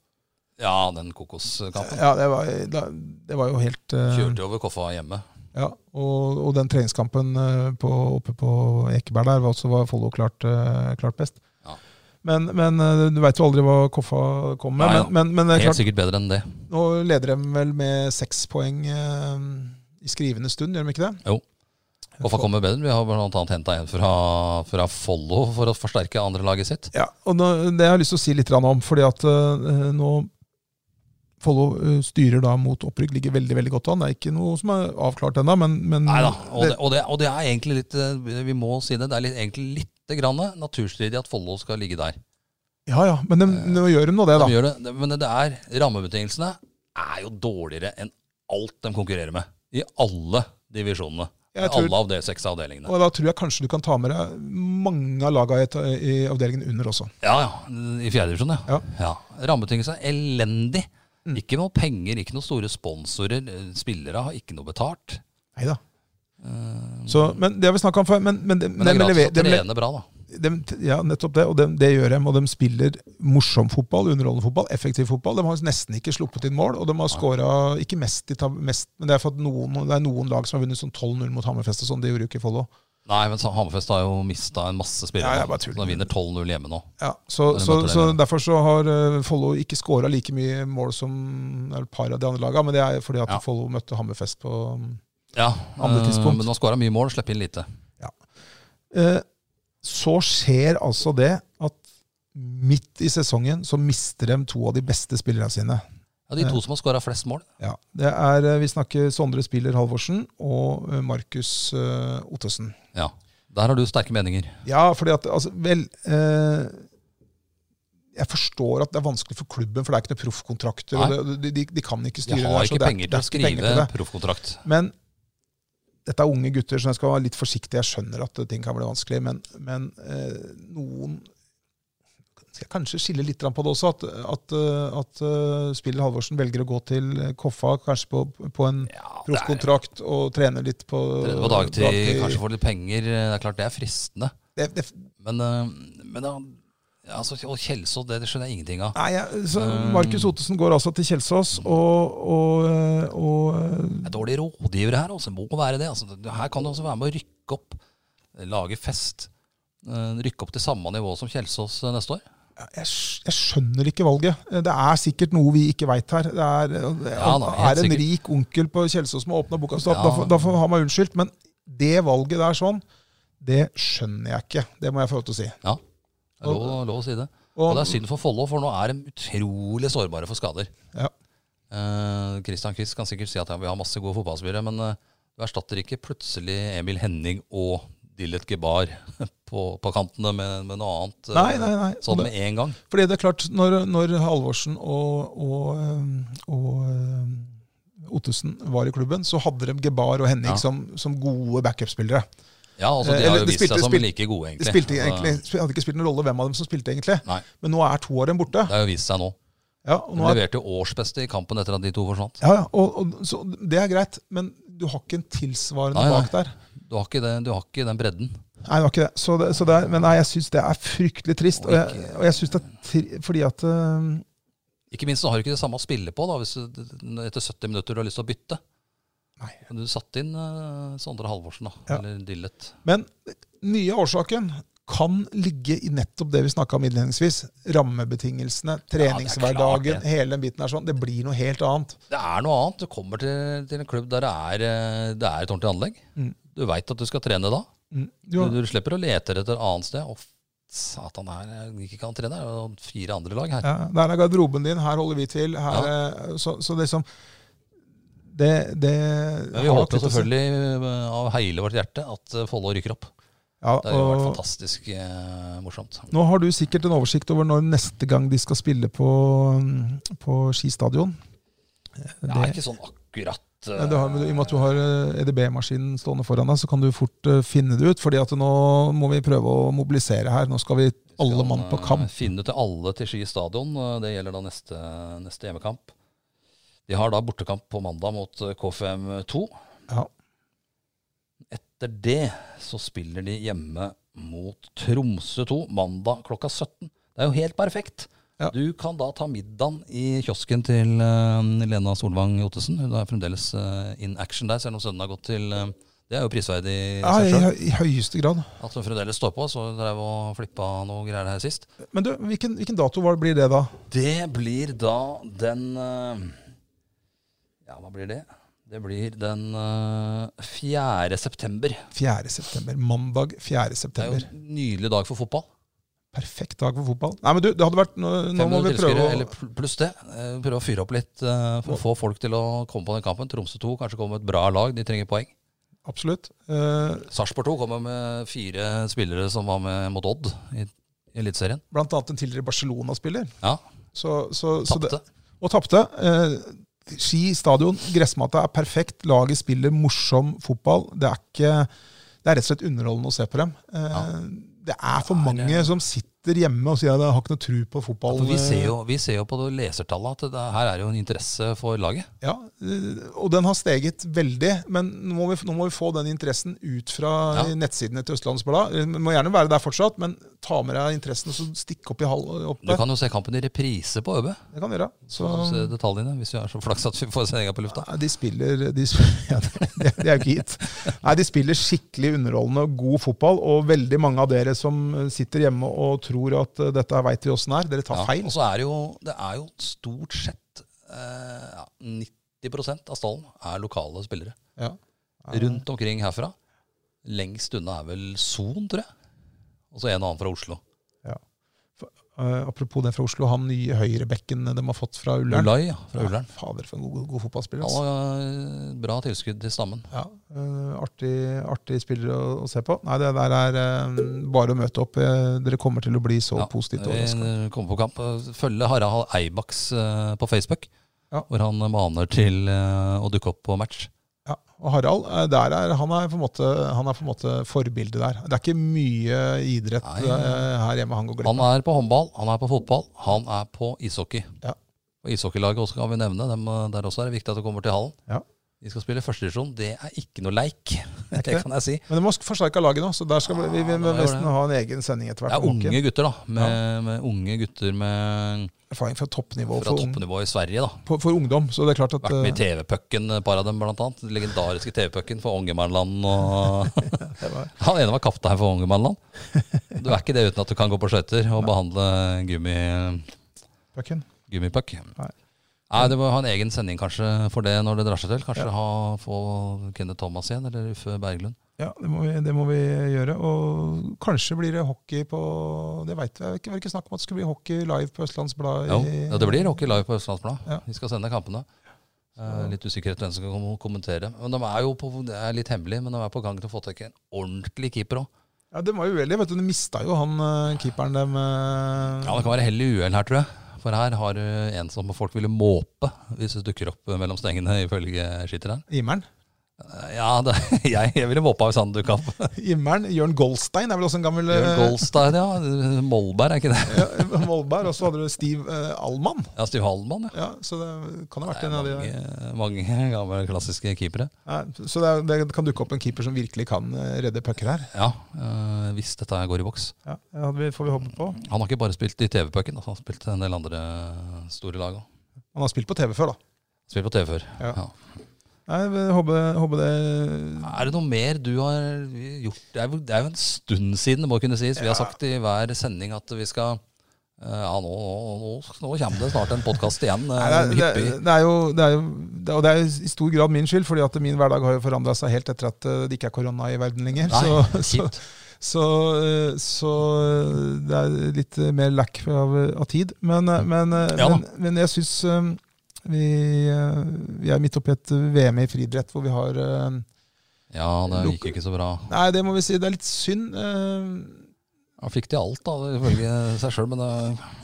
A: Ja, den kokoskampen.
B: Ja, det var, da- det var jo helt eh,
A: Kjørte over Koffa hjemme.
B: ja, og, og den treningskampen eh, på, oppe på Ekeberg der var også var Follo klart, eh, klart best.
A: Ja.
B: Men, men eh, du veit jo aldri hva Koffa kommer med.
A: Nei, ja.
B: men, men, men det er
A: Helt
B: klart,
A: sikkert bedre enn det.
B: nå leder de vel med seks poeng eh, i skrivende stund, gjør de ikke det?
A: Jo. Koffa kommer bedre. Vi har bl.a. henta en fra, fra Follo for å forsterke andrelaget sitt.
B: Ja, og nå, Det har jeg lyst til å si litt grann om, fordi at eh, nå Follo eh, styrer da mot opprykk, ligger veldig veldig godt an. Det er ikke noe som er avklart ennå, men, men
A: Nei da. Og, det- og, det- og det er egentlig litt eh, Vi må si det. Det er litt, egentlig litt grann naturstridig at Follo skal ligge der.
B: Ja, ja, men de, nå gjør de nå det,
A: Eh, De
B: da.
A: gjør det, men det er rammebetingelsene er jo dårligere enn alt de konkurrerer med. I alle divisjonene. I
B: Jeg tror-
A: alle av de seks avdelingene.
B: Og da tror jeg kanskje du kan ta med deg mange av laga i, i avdelingen under også.
A: Ja, ja. I fjerde divisjon, ja.
B: Ja. Mm.
A: ja. Rammebetingelsene er elendig. Ikke noe penger, ikke noe store sponsorer. eh, Spillere har ikke noe betalt.
B: Neida. Så, men det har vi snakka om før. Men, men, de,
A: Eh, Men det er
B: de,
A: gratis å
B: lever- de,
A: trene bra, da.
B: de, ja, nettopp det. Og de, det gjør dem. Og de spiller morsom fotball, underholdende fotball, effektiv fotball. De har nesten ikke sluppet inn mål, og de har skåra ikke mest, i tab- mest Men det er for at noen, det er noen lag som har vunnet sånn 12-0 mot Hammerfest og sånn. Det gjorde jo ikke Follo.
A: Nei, men så- Hammerfest har jo mista en masse spillere.
B: Ja, jeg
A: nå,
B: bare
A: så
B: tuller.
A: de vinner 12-0 hjemme nå.
B: Ja, så,
A: Ja, det
B: så,
A: måtte det
B: så
A: være.
B: derfor så har eh, Follo ikke skåra like mye mål som et par av de andre lagene, men det er fordi at
A: Ja.
B: Follo møtte Hammerfest på
A: Ja,
B: Andre
A: eh,
B: tidspunkt.
A: Men nå skåra mye mål, slipper inn lite.
B: Eh, Så skjer altså det at midt i sesongen så mister de to av de beste spillerne sine.
A: Ja, de to som har skåra flest mål.
B: Ja, det er, eh, Vi snakker Sondre Spiller Halvorsen og eh, Markus eh, Ottesen.
A: Ja. Der har du sterke meninger.
B: Ja, fordi at altså, Vel eh, Jeg forstår at det er vanskelig for klubben, for det er ikke noen proffkontrakter.
A: Nei.
B: og det- De, de, de kan ikke
A: De
B: styre
A: har
B: det. der, så
A: ikke
B: det er-
A: penger
B: det
A: til å
B: er ikke penger til
A: skrive proffkontrakt.
B: Men dette er unge gutter, så jeg skal være litt forsiktig. Jeg skjønner at ting kan bli vanskelig, men, men eh, noen skal jeg kanskje skille litt grann på det også, at, at, eh, at eh, Spiller Halvorsen velger å gå til Koffa, kanskje på, på en
A: Ja, det er
B: proffkontrakt, og trene litt på
A: Trene på dagtid,
B: dagtid.
A: kanskje få litt penger. Det er klart det er fristende.
B: det, det,
A: Men, eh, men da, ja, altså, og Kjelsås, det, det skjønner jeg ingenting av.
B: Nei, jeg, så
A: Um,
B: Markus Ottesen går altså til Kjelsås, og, og, eh, og
A: Det er dårlige rådgivere her, altså. Må være det. Altså, Det- her kan du også være med å rykke opp. Lage fest. eh, Rykke opp til samme nivå som Kjelsås eh, neste år.
B: jeg, skj- jeg skjønner ikke valget. Det er sikkert noe vi ikke veit her. Det er, det
A: Ja, da, helt
B: er en
A: sikkert.
B: rik onkel på Kjelsås som har åpna boka, så da,
A: Ja.
B: da, får- da får han meg unnskyldt. Men det valget der sånn, det skjønner jeg ikke. Det må jeg få lov til å si.
A: Ja, det er lov, lov å si det. Og
B: Og,
A: det er synd for Follo, for nå er de utrolig sårbare for skader.
B: Ja.
A: Eh, Christian Quiz kan sikkert si at ja, vi har masse gode fotballspillere, men eh, du erstatter ikke plutselig Emil Henning og Dillet Gebar på, på kantene med, med noe annet eh,
B: nei, nei, nei.
A: sånn med en gang.
B: Fordi det er klart, når, når Halvorsen og, og, øhm, og øhm, Ottesen var i klubben, så hadde de Gebar og Henning
A: Ja.
B: som, som gode backup-spillere.
A: Ja, altså De
B: Eh, eller
A: har jo
B: de
A: vist
B: spilte-
A: seg som
B: spilte-
A: like gode,
B: Det
A: egentlig.
B: spilte
A: Altså,
B: egentlig, sp- hadde ikke spilt noen rolle hvem av dem som spilte, egentlig.
A: Nei.
B: Men nå er to av dem borte.
A: Det har jo vist seg nå.
B: Ja, og,
A: De
B: nå er,
A: leverte jo årsbeste i kampen etter at de to forsvant.
B: ja, ja, og, og så Det er greit, men du har ikke en tilsvarende
A: Nei, nei.
B: bak der.
A: Du har ikke, det, du har ikke den bredden.
B: Nei, det var ikke det. Så det, så det er, men nei, jeg syns det er fryktelig trist. Og jeg, og jeg synes det er tri fordi at eh, øhm,
A: Ikke minst så har du ikke det samme å spille på da, hvis du, etter 70 minutter du har lyst til å bytte.
B: Nei.
A: Men Du satte inn eh, Sondre Halvorsen, da.
B: Ja.
A: Eller Dillet.
B: Men mye av årsaken kan ligge i nettopp det vi snakka om innledningsvis. Rammebetingelsene,
A: klart
B: treningshverdagen,
A: det.
B: hele den biten er sånn. Det blir noe helt annet.
A: Det er noe annet. Du kommer til, til en klubb der det er, eh, det er et ordentlig anlegg.
B: Mm.
A: Du veit at du skal trene da.
B: Mm.
A: Du,
B: Jo,
A: du slipper å lete etter et annet sted. Å, f- satan, her er det ikke kan trene. Det er jo fire andre lag her.
B: ja, der er garderoben din, her holder vi til. Her, eh, så, så liksom Det, det
A: Men vi
B: har
A: håper
B: nok litt å si.
A: selvfølgelig eh, av hele vårt hjerte at eh, Follo rykker opp.
B: Ja,
A: Det hadde jo vært
B: og
A: fantastisk eh, morsomt.
B: nå har du sikkert en oversikt over når neste gang de skal spille på, mm, på Ski stadion.
A: Det er ikke sånn akkurat eh,
B: Ja, Du har, men du- I og med at du har eh, EDB-maskinen stående foran deg, så kan du fort eh, finne det ut. fordi at nå må vi prøve å mobilisere her. Nå skal vi alle
A: skal,
B: mann på
A: eh,
B: kamp.
A: Finne til alle til Ski stadion. Eh, Det gjelder da neste, neste hjemmekamp. De har da bortekamp på mandag mot eh, KFM2.
B: Ja.
A: Etter det så spiller de hjemme mot Tromsø 2 mandag klokka 17. Det er jo helt perfekt.
B: Ja.
A: Du kan da ta middagen i kiosken til eh, Lena Solvang Ottesen. Hun er fremdeles eh, in action der, selv om sønnen har gått til eh, Det er jo prisverdig i
B: Ja,
A: seg
B: i,
A: sjøl.
B: I høyeste grad.
A: At hun fremdeles står på. Så drev og flippa noe greier her sist.
B: Men du, hvilken, hvilken dato var, blir det, da?
A: Det blir da den eh, Ja, hva blir det? Det blir den eh, 4. september.
B: 4. september. Mandag 4.
A: Det er jo
B: september.
A: en nydelig dag for fotball.
B: Perfekt dag for fotball. Nei, men du, det hadde vært Nå, nå må
A: 500
B: vi prøve
A: tilskuere,
B: å
A: eller pl- pluss det. Eh, Prøve å fyre opp litt eh, for å få folk til å komme på den kampen. Tromsø 2 kanskje kommer med et bra lag, de trenger poeng.
B: Absolutt. Eh,
A: Sarpsborg 2 kommer med fire spillere som var med mot Odd i i Eliteserien.
B: blant annet en tidligere Barcelona-spiller.
A: Ja,
B: Så, så, så det,
A: tapte.
B: og tapte. Eh, ski stadion, gressmatta er perfekt. Laget spiller morsom fotball. Det er, ikke, det er rett og slett underholdende å se på dem. Eh,
A: Ja.
B: Det er for
A: Det er
B: mange
A: det.
B: som sitter hjemme og sier at de har ikke noe tro på
A: Ja,
B: fotball.
A: for vi, ser jo, vi ser jo på lesertallene at det, her er jo en interesse for laget.
B: Ja, eh, og den har steget veldig. Men nå må vi, nå må vi få den interessen ut fra
A: Ja.
B: eh, nettsidene til Østlandets Blad. Eh, Den må gjerne være der fortsatt, men ta med deg interessen og så stikk opp i hall opp
A: Du
B: der.
A: kan jo se kampen i reprise på ØB.
B: Det kan du gjøre.
A: Så
B: Så,
A: se detaljene, hvis vi har så flaks at vi får sendinga på lufta.
B: Nei, de spiller de, sp- ja, det, det er jo ikke gitt. Nei, de spiller skikkelig underholdende og god fotball. Og veldig mange av dere som eh, sitter hjemme og tror at eh, dette veit vi åssen er, dere tar
A: Ja,
B: feil.
A: Og så er det jo, det er jo stort sett eh, ja, 90 av stallen er lokale spillere.
B: Ja.
A: Rundt omkring herfra. Lengst unna er vel Son, tror jeg. Og så en og annen fra Oslo.
B: Ja. For- Eh, apropos den fra Oslo, han nye høyrebekken de har fått fra Ullern.
A: Ulai, ja, fra Ullern.
B: Ja, fader, for en god, god fotballspiller.
A: Han
B: Altså.
A: har eh, bra tilskudd til stammen.
B: Ja, eh, artig, artig spiller å, å se på. Nei, det der er eh, bare å møte opp. Eh, dere kommer til å bli så
A: Ja,
B: positivt
A: Vi
B: overraska.
A: eh, kommer på kamp. Eh, Følge Harald Eibaks eh, på Facebook,
B: Ja.
A: hvor han maner til eh, å dukke opp på match.
B: Ja, og Harald, eh, der er, han, er på en måte, han er på en måte forbildet der. Det er ikke mye idrett
A: Nei.
B: eh, her hjemme han går glipp av.
A: Han er på håndball, han er på fotball, han er på ishockey.
B: Ja.
A: Og ishockeylaget også kan vi nevne. Dem, eh, der også er det viktig at du kommer til hallen.
B: Ja.
A: De skal spille førstedivisjon. Det er ikke noe leik, det,
B: ikke det.
A: kan jeg si.
B: Men de har forsterka laget nå, så der skal vi, vi, vi
A: Ja,
B: må
A: det gjør
B: nesten
A: det.
B: ha en egen sending etter
A: Det
B: hvert.
A: er
B: om hockey.
A: unge gutter, da. Med, med unge gutter med,
B: Erfaring fra toppnivå
A: fra
B: for, ung-
A: toppnivå i Sverige, da.
B: på- for ungdom. Så det er klart at
A: Vært med i
B: eh,
A: TV-pucken, et par av dem blant annet. Den legendariske TV-pucken for Ångermannland og
B: eh, det var-
A: Han ene var kaptein for Ångermannland. Du er ikke det uten at du kan gå på skøyter og behandle gummi,
B: Bøkken.
A: gummipuck.
B: Nei.
A: Nei, du må ha en egen sending kanskje for det når det drar seg til. Kanskje ha, få Kenneth Thomas igjen, eller Uffe Berglund.
B: Ja, det må, vi, det må vi gjøre. Og kanskje blir det hockey på Det veit jeg ikke. Var det ikke snakk om at det skulle bli hockey live på Østlandsbladet?
A: Jo,
B: i-
A: ja, det blir Hockey Live på Østlandsbladet.
B: Ja.
A: Vi skal sende kampene. Eh, Litt usikkerhet hvem som kan kom- kommentere. Men de er jo på, Det er litt hemmelig, men de er på gang til å få tak i en ordentlig keeper òg.
B: Ja, De var jo uheldige. vet du. De mista jo han eh, keeperen dem eh,
A: Ja, det kan være hell i uhell her, tror jeg. For her har du en som folk ville måpe hvis det dukker opp eh, mellom stengene, ifølge skytteren. Eh,
B: Immeren.
A: Ja, det, jeg, jeg ville måpa hvis han dukka opp.
B: Immeren, Jørn Goldstein er vel også en gammel eh,
A: Bjørn Golstad, ja. Molberg, er ikke det?
B: ja, Molberg. Og så hadde du Steve eh, Allmann.
A: Ja, Stiv Hallmann, ja.
B: Ja, så det kan ha vært
A: Det er
B: en av de der.
A: mange, mange gamle klassiske keepere.
B: Nei, Så det, er, det kan dukke opp en keeper som virkelig kan eh, redde pucker her.
A: Ja, eh, hvis dette her går i boks.
B: Ja, ja, det får vi håpe på.
A: Han har ikke bare spilt i TV-pucken, altså, han har spilt i en del andre store lag òg.
B: Han har spilt på TV før, da.
A: Spilt på TV før.
B: Ja.
A: Ja.
B: Nei, vi håper, håper det
A: Er det noe mer du har gjort? Det er jo, det er jo en stund siden, det må kunne sies. Vi har
B: Ja.
A: sagt i hver sending at vi skal eh, Ja, nå, nå, nå, nå kommer det snart en podkast igjen. eh,
B: Nei, det, er-
A: hyppig.
B: det, det er jo, det er jo det, Og det er jo i stor grad min skyld, fordi at min hverdag har jo forandra seg helt etter at eh, det ikke er korona i verden lenger.
A: Nei,
B: så, så,
A: kjipt.
B: så, eh, så eh, det er litt eh, mer lack av, av tid. Men, eh, men, eh,
A: Ja da.
B: men, men jeg syns vi, eh, vi er midt oppi et VM i friidrett hvor vi har eh,
A: Ja, det
B: Lukk-
A: gikk ikke så bra.
B: Nei, det må vi si. Det er litt synd. eh,
A: Han fikk til alt, da, ifølge seg sjøl. Men det,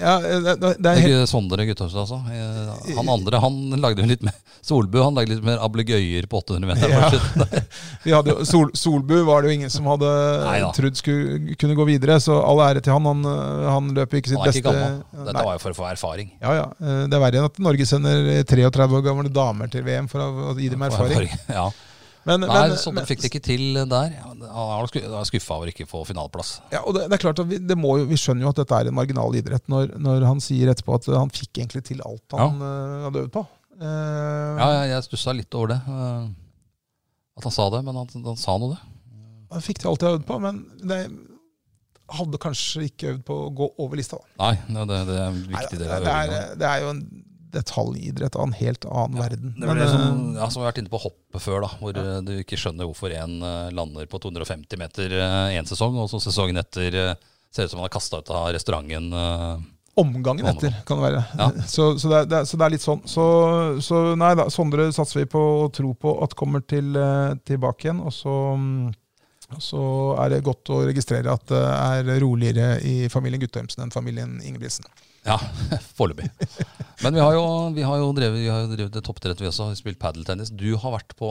B: Ja, eh, det, det, det
A: det
B: er
A: er
B: helt
A: ikke Sondre Guttormsen, altså. Eh, Han andre han lagde jo litt mer Solbu han lagde litt mer ablegøyer på 800 meter.
B: Ja.
A: for slutt.
B: Vi hadde jo, Sol, Solbu var det jo ingen som hadde
A: da.
B: trodd skulle kunne gå videre, så all ære til han. Han, øh, han løper ikke sitt
A: Han er ikke
B: beste
A: gammel. Dette
B: Nei.
A: var jo for å få erfaring.
B: Ja, ja. Eh, Det er verre enn at Norge sender 33 år gamle damer til VM for å å gi dem erfaring.
A: Ja.
B: Men,
A: Nei,
B: men-
A: Sondre fikk det ikke til der. Han er skuffa over ikke å få finaleplass.
B: Ja, og det, det er klart at vi, det må jo, vi skjønner jo at dette er en marginal idrett når, når han sier etterpå at han fikk egentlig til alt han øh, hadde øvd på. Eh,
A: Ja, jeg, jeg stussa litt over det. eh, At han sa det, men han, han sa nå det.
B: Han fikk til alt jeg hadde øvd på, men det hadde kanskje ikke øvd på å gå over lista. da.
A: Nei, det, det, det er en viktig del
B: Nei,
A: av
B: det, er,
A: øvinga.
B: det er jo en detaljidrett av en helt annen verden.
A: Det var
B: Men,
A: det som,
B: eh,
A: ja, som vi har vært inne på hoppet før, da, hvor eh, du ikke skjønner hvorfor en eh, lander på 250 meter én sesong, og så sesongen etter eh, ser ut som han er kasta ut av restauranten. eh.
B: omgangen etter, kan det være.
A: Ja.
B: Så, så, det er, det er, så det er litt sånn. Så, så nei da, Sondre satser vi på og tror på at kommer til, eh, tilbake igjen. Og så, mm, så er det godt å registrere at det er roligere i familien Guttormsen enn familien Ingebrigtsen.
A: Ja, foreløpig. Men vi har jo, vi har jo drevet, vi har jo drevet toppidrett, vi også. Vi har Spilt padeltennis. Du har vært på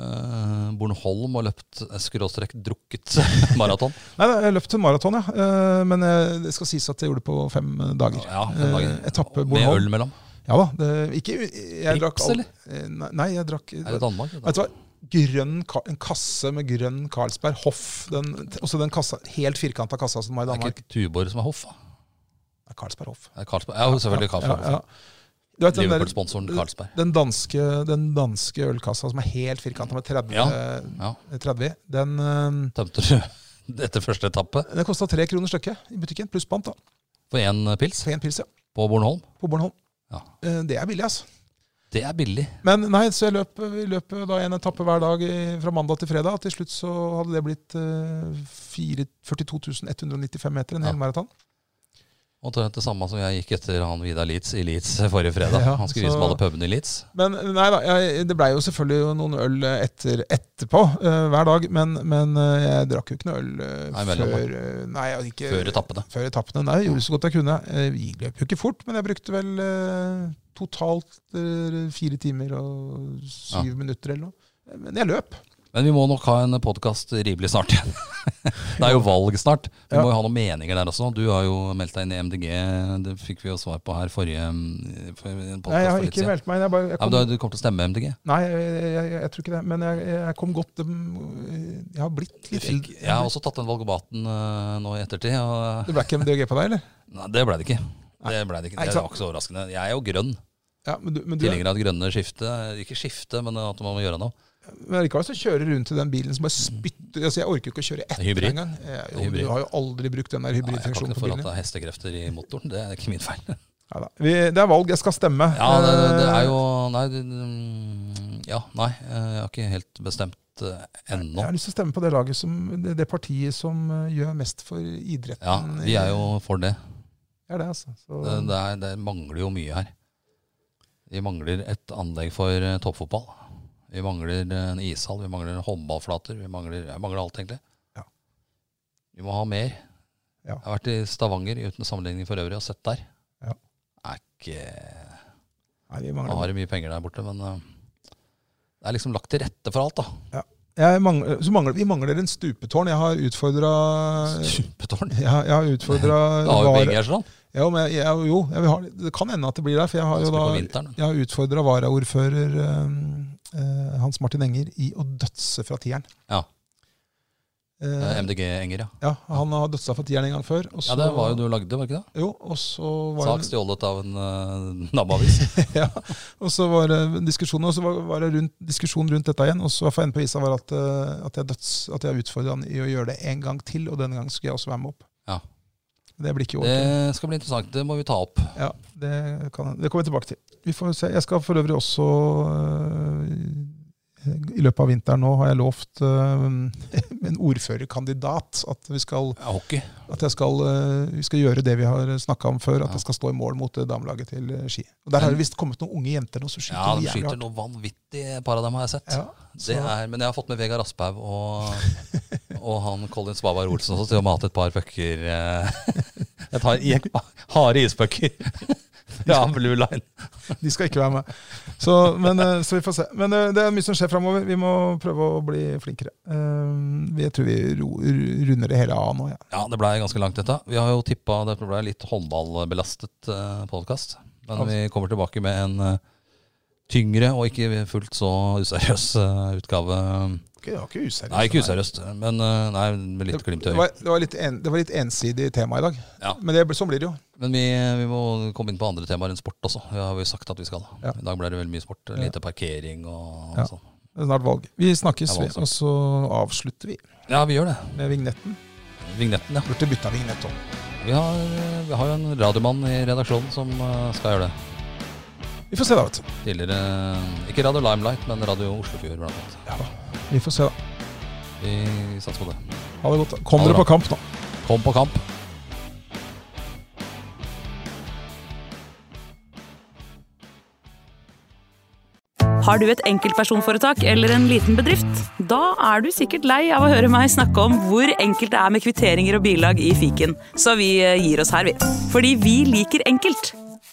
A: eh, Bornholm og løpt eh, skråstrek drukket maraton.
B: Nei, da, jeg løp til maraton, ja. Eh, Men eh, det skal sies at jeg gjorde det på fem eh, dager.
A: Ja, fem dager.
B: Eh, Etappe
A: Med
B: Bornholm.
A: øl mellom.
B: Ja da. Det, ikke, jeg drakk
A: Rips,
B: al-
A: eller?
B: Eh, Nei, nei, jeg drakk
A: Er det Danmark? det da?
B: Vet du hva? Grønn, ka- en kasse med grønn Carlsberg Hoff. Den, også den kassa, helt firkanta kassa som var i
A: Det er
B: Danmark.
A: ikke Tuborg som er hoff? da?
B: Det er Carlsberg Hoff.
A: Det er Carlsberg. Ja, selvfølgelig Carlsberg.
B: Ja, ja. Du vet, den, der,
A: Liverpool-sponsoren Carlsberg.
B: den, danske, den danske ølkassa som er helt firkanta med 30,
A: Ja. Ja,
B: 30 den, eh,
A: Tømte du etter første etappe
B: den kosta tre kroner stykket i butikken, pluss pant. da.
A: for én pils
B: Så en pils, ja.
A: på Bornholm?
B: På Bornholm.
A: Ja.
B: Eh, Det er billig, altså.
A: Det er billig.
B: Men nei, så jeg løp, vi løp da en etappe hver dag i- fra mandag til fredag. Til slutt så hadde det blitt eh, fire- 42.195 meter, en hel
A: Ja.
B: maraton.
A: Omtrent det samme som jeg gikk etter han Vidar Litz i Litz forrige fredag.
B: Ja,
A: han skulle vise
B: så-
A: meg alle pubene i Litz.
B: Men nei da, jeg, det blei jo selvfølgelig jo noen øl etter, etterpå eh, hver dag. Men, men eh, jeg drakk jo ikke noe øl eh,
A: Nei, mellom,
B: før eh, Nei, jeg, hadde ikke,
A: Før etappene.
B: før etappene. Nei, jeg gjorde så godt jeg kunne. Eh, Jeg løp jo ikke fort, men jeg brukte vel eh, totalt eh, fire timer og syv minutter eller noe. Men jeg løp.
A: Men vi må nok ha en podkast rimelig snart igjen. det er jo valg snart. Vi
B: Ja.
A: må jo ha noen meninger der også. Du har jo meldt deg inn i MDG. Det fikk vi jo svar på her forrige mm, for en podcast
B: Nei, jeg
A: for
B: har
A: litt
B: ikke
A: siden.
B: meldt meg inn. Jeg, bare, jeg
A: Ja,
B: kom,
A: men du, du kommer til å stemme MDG?
B: Nei, jeg, jeg, jeg, jeg tror ikke det. Men jeg, jeg kom godt um, Jeg har blitt
A: Jeg,
B: litt
A: fikk, jeg har også tatt den valgobaten eh, nå i ettertid. Og,
B: Det ble ikke MDG på deg, eller?
A: nei, det ble det ikke. Det ble det ikke.
B: Nei, ikke
A: Det
B: sant.
A: var ikke så overraskende. Jeg er jo grønn.
B: Ja, men du, men du
A: Tilhenger av det grønne skiftet. Ikke skifte, men at man må gjøre noe.
B: Men likevel så kjører du rundt i den bilen som bare spytter altså Jeg orker jo ikke å kjøre etter
A: Hybrid.
B: engang. Jeg- jo,
A: Hybrid.
B: Du har jo aldri brukt den der
A: Nei, jeg kan ikke
B: hybridfunksjonen
A: noe
B: på
A: for at
B: bilen.
A: det er hestekrefter i motoren. Det er ikke min feil.
B: Ja, da. Vi, det er valg, jeg skal stemme.
A: Ja, det, det er jo
B: Eh.
A: Nei, det, mm, ja, nei eh, jeg har ikke helt bestemt eh,
B: Jeg
A: ennå.
B: har lyst til å stemme på det laget som, det, det partiet som eh, gjør mest for idretten.
A: Ja, vi er jo for det.
B: Ja, det, altså. Så,
A: Det, det, er, det mangler jo mye her. Vi mangler et anlegg for eh, toppfotball. Vi mangler en ishall, vi mangler håndballflater. Vi mangler, jeg mangler alt, egentlig.
B: Ja.
A: Vi må ha mer.
B: Ja.
A: Jeg har vært i Stavanger uten sammenligning for øvrig og sett der.
B: Ja.
A: Er ikke
B: Nei, vi
A: Man
B: mangler
A: har jo mye penger der borte, men eh, det er liksom lagt til rette for alt, da.
B: Jeg mangler, så mangler, vi mangler en stupetårn. Jeg har utfordra
A: Stupetårn.
B: jeg, har- jeg har utfordra
A: Det har jo begge her sånn.
B: Ja, men jeg, jeg, jo, jeg vil ha, det kan hende at det blir der. For jeg har jo
A: Spiller på
B: da
A: vinteren.
B: Jeg har utfordra varaordfører eh, eh, Hans Martin Enger i å dødse fra tieren.
A: Ja.
B: Eh,
A: Eh, MDG Enger, ja.
B: ja, han har dødsa fra tieren en gang før. Og så,
A: Ja, Det var jo du lagde, var det ikke det?
B: Jo, og så var
A: Sak
B: det,
A: stjålet av en uh, naboavis.
B: ja, og så var det en diskusjon, og så var, var det rundt, diskusjon rundt dette igjen. Og så var enden på isa var at, eh, at jeg, døds, at jeg utfordra han i å gjøre det en gang til, og denne gangen skulle jeg også være med opp.
A: Ja.
B: Det blir ikke i år. til.
A: Det skal bli interessant. Det må vi ta opp.
B: Ja, det, kan, det kommer jeg tilbake til. Vi får se. Jeg skal for øvrig også øh, I løpet av vinteren nå har jeg lovt øh, en ordførerkandidat at, vi skal,
A: Ja, hockey.
B: at jeg skal, øh, vi skal gjøre det vi har snakka om før, at
A: Ja.
B: jeg skal stå i mål mot øh, damelaget til øh, Ski. Og Der har det visst kommet noen unge jenter nå som skyter
A: Ja, de
B: jævlig
A: skyter
B: hardt.
A: noe vanvittig, et par av dem har jeg sett.
B: Ja,
A: det er, men jeg har fått med Vegard Asphaug og, og han Colin Svaberg Olsen også til å mate et par pucker eh, Et par i- harde ispucker fra Blue Line.
B: de skal ikke være med. Så, men, øh, så vi får se. Men øh, det er mye som skjer framover. Vi må prøve å bli flinkere. Ehm, Jeg tror vi ro, runder det hele av nå. Ja.
A: Ja, det blei ganske langt, dette. Vi har jo tippa det blei litt håndballbelastet eh, podkast. Men
B: Altså.
A: vi kommer tilbake med en eh, tyngre og ikke fullt så useriøs eh, utgave.
B: Ikke- Det var ikke useriøst.
A: Nei, ikke useriøst, men eh, nei, med litt glimt i
B: Det
A: øyet.
B: var, det, var litt en, det var litt ensidig tema i dag.
A: Ja.
B: Men det, sånn blir det jo.
A: Men vi, vi må komme inn på andre temaer enn sport også. Det har vi sagt at vi skal.
B: Ja.
A: I dag ble det veldig mye sport. Lite parkering og
B: Ja.
A: sånn.
B: Det er snart valg. Vi snakkes,
A: Det er
B: vi,
A: valg snart.
B: og så avslutter vi
A: Ja, vi gjør det.
B: med vignetten.
A: Vignetten, ja.
B: Burde bytta vignett òg.
A: Vi har, eh, vi har jo en radiomann i redaksjonen som eh, skal gjøre det.
B: Vi får se, da. vet du.
A: Tidligere eh, Ikke Radio Limelight, men Radio Oslofjord, blant annet.
B: Ja, da. Vi får se, da.
A: Vi satser på det.
B: Ha det godt. da. Kom
A: Ha det
B: dere
A: bra.
B: på kamp nå.
A: Kom på kamp.
C: Har du et enkeltpersonforetak eller en liten bedrift? Da er du sikkert lei av å høre meg snakke om hvor enkelt det er med kvitteringer og bilag i fiken, så vi eh, gir oss her, vi. Fordi vi liker enkelt.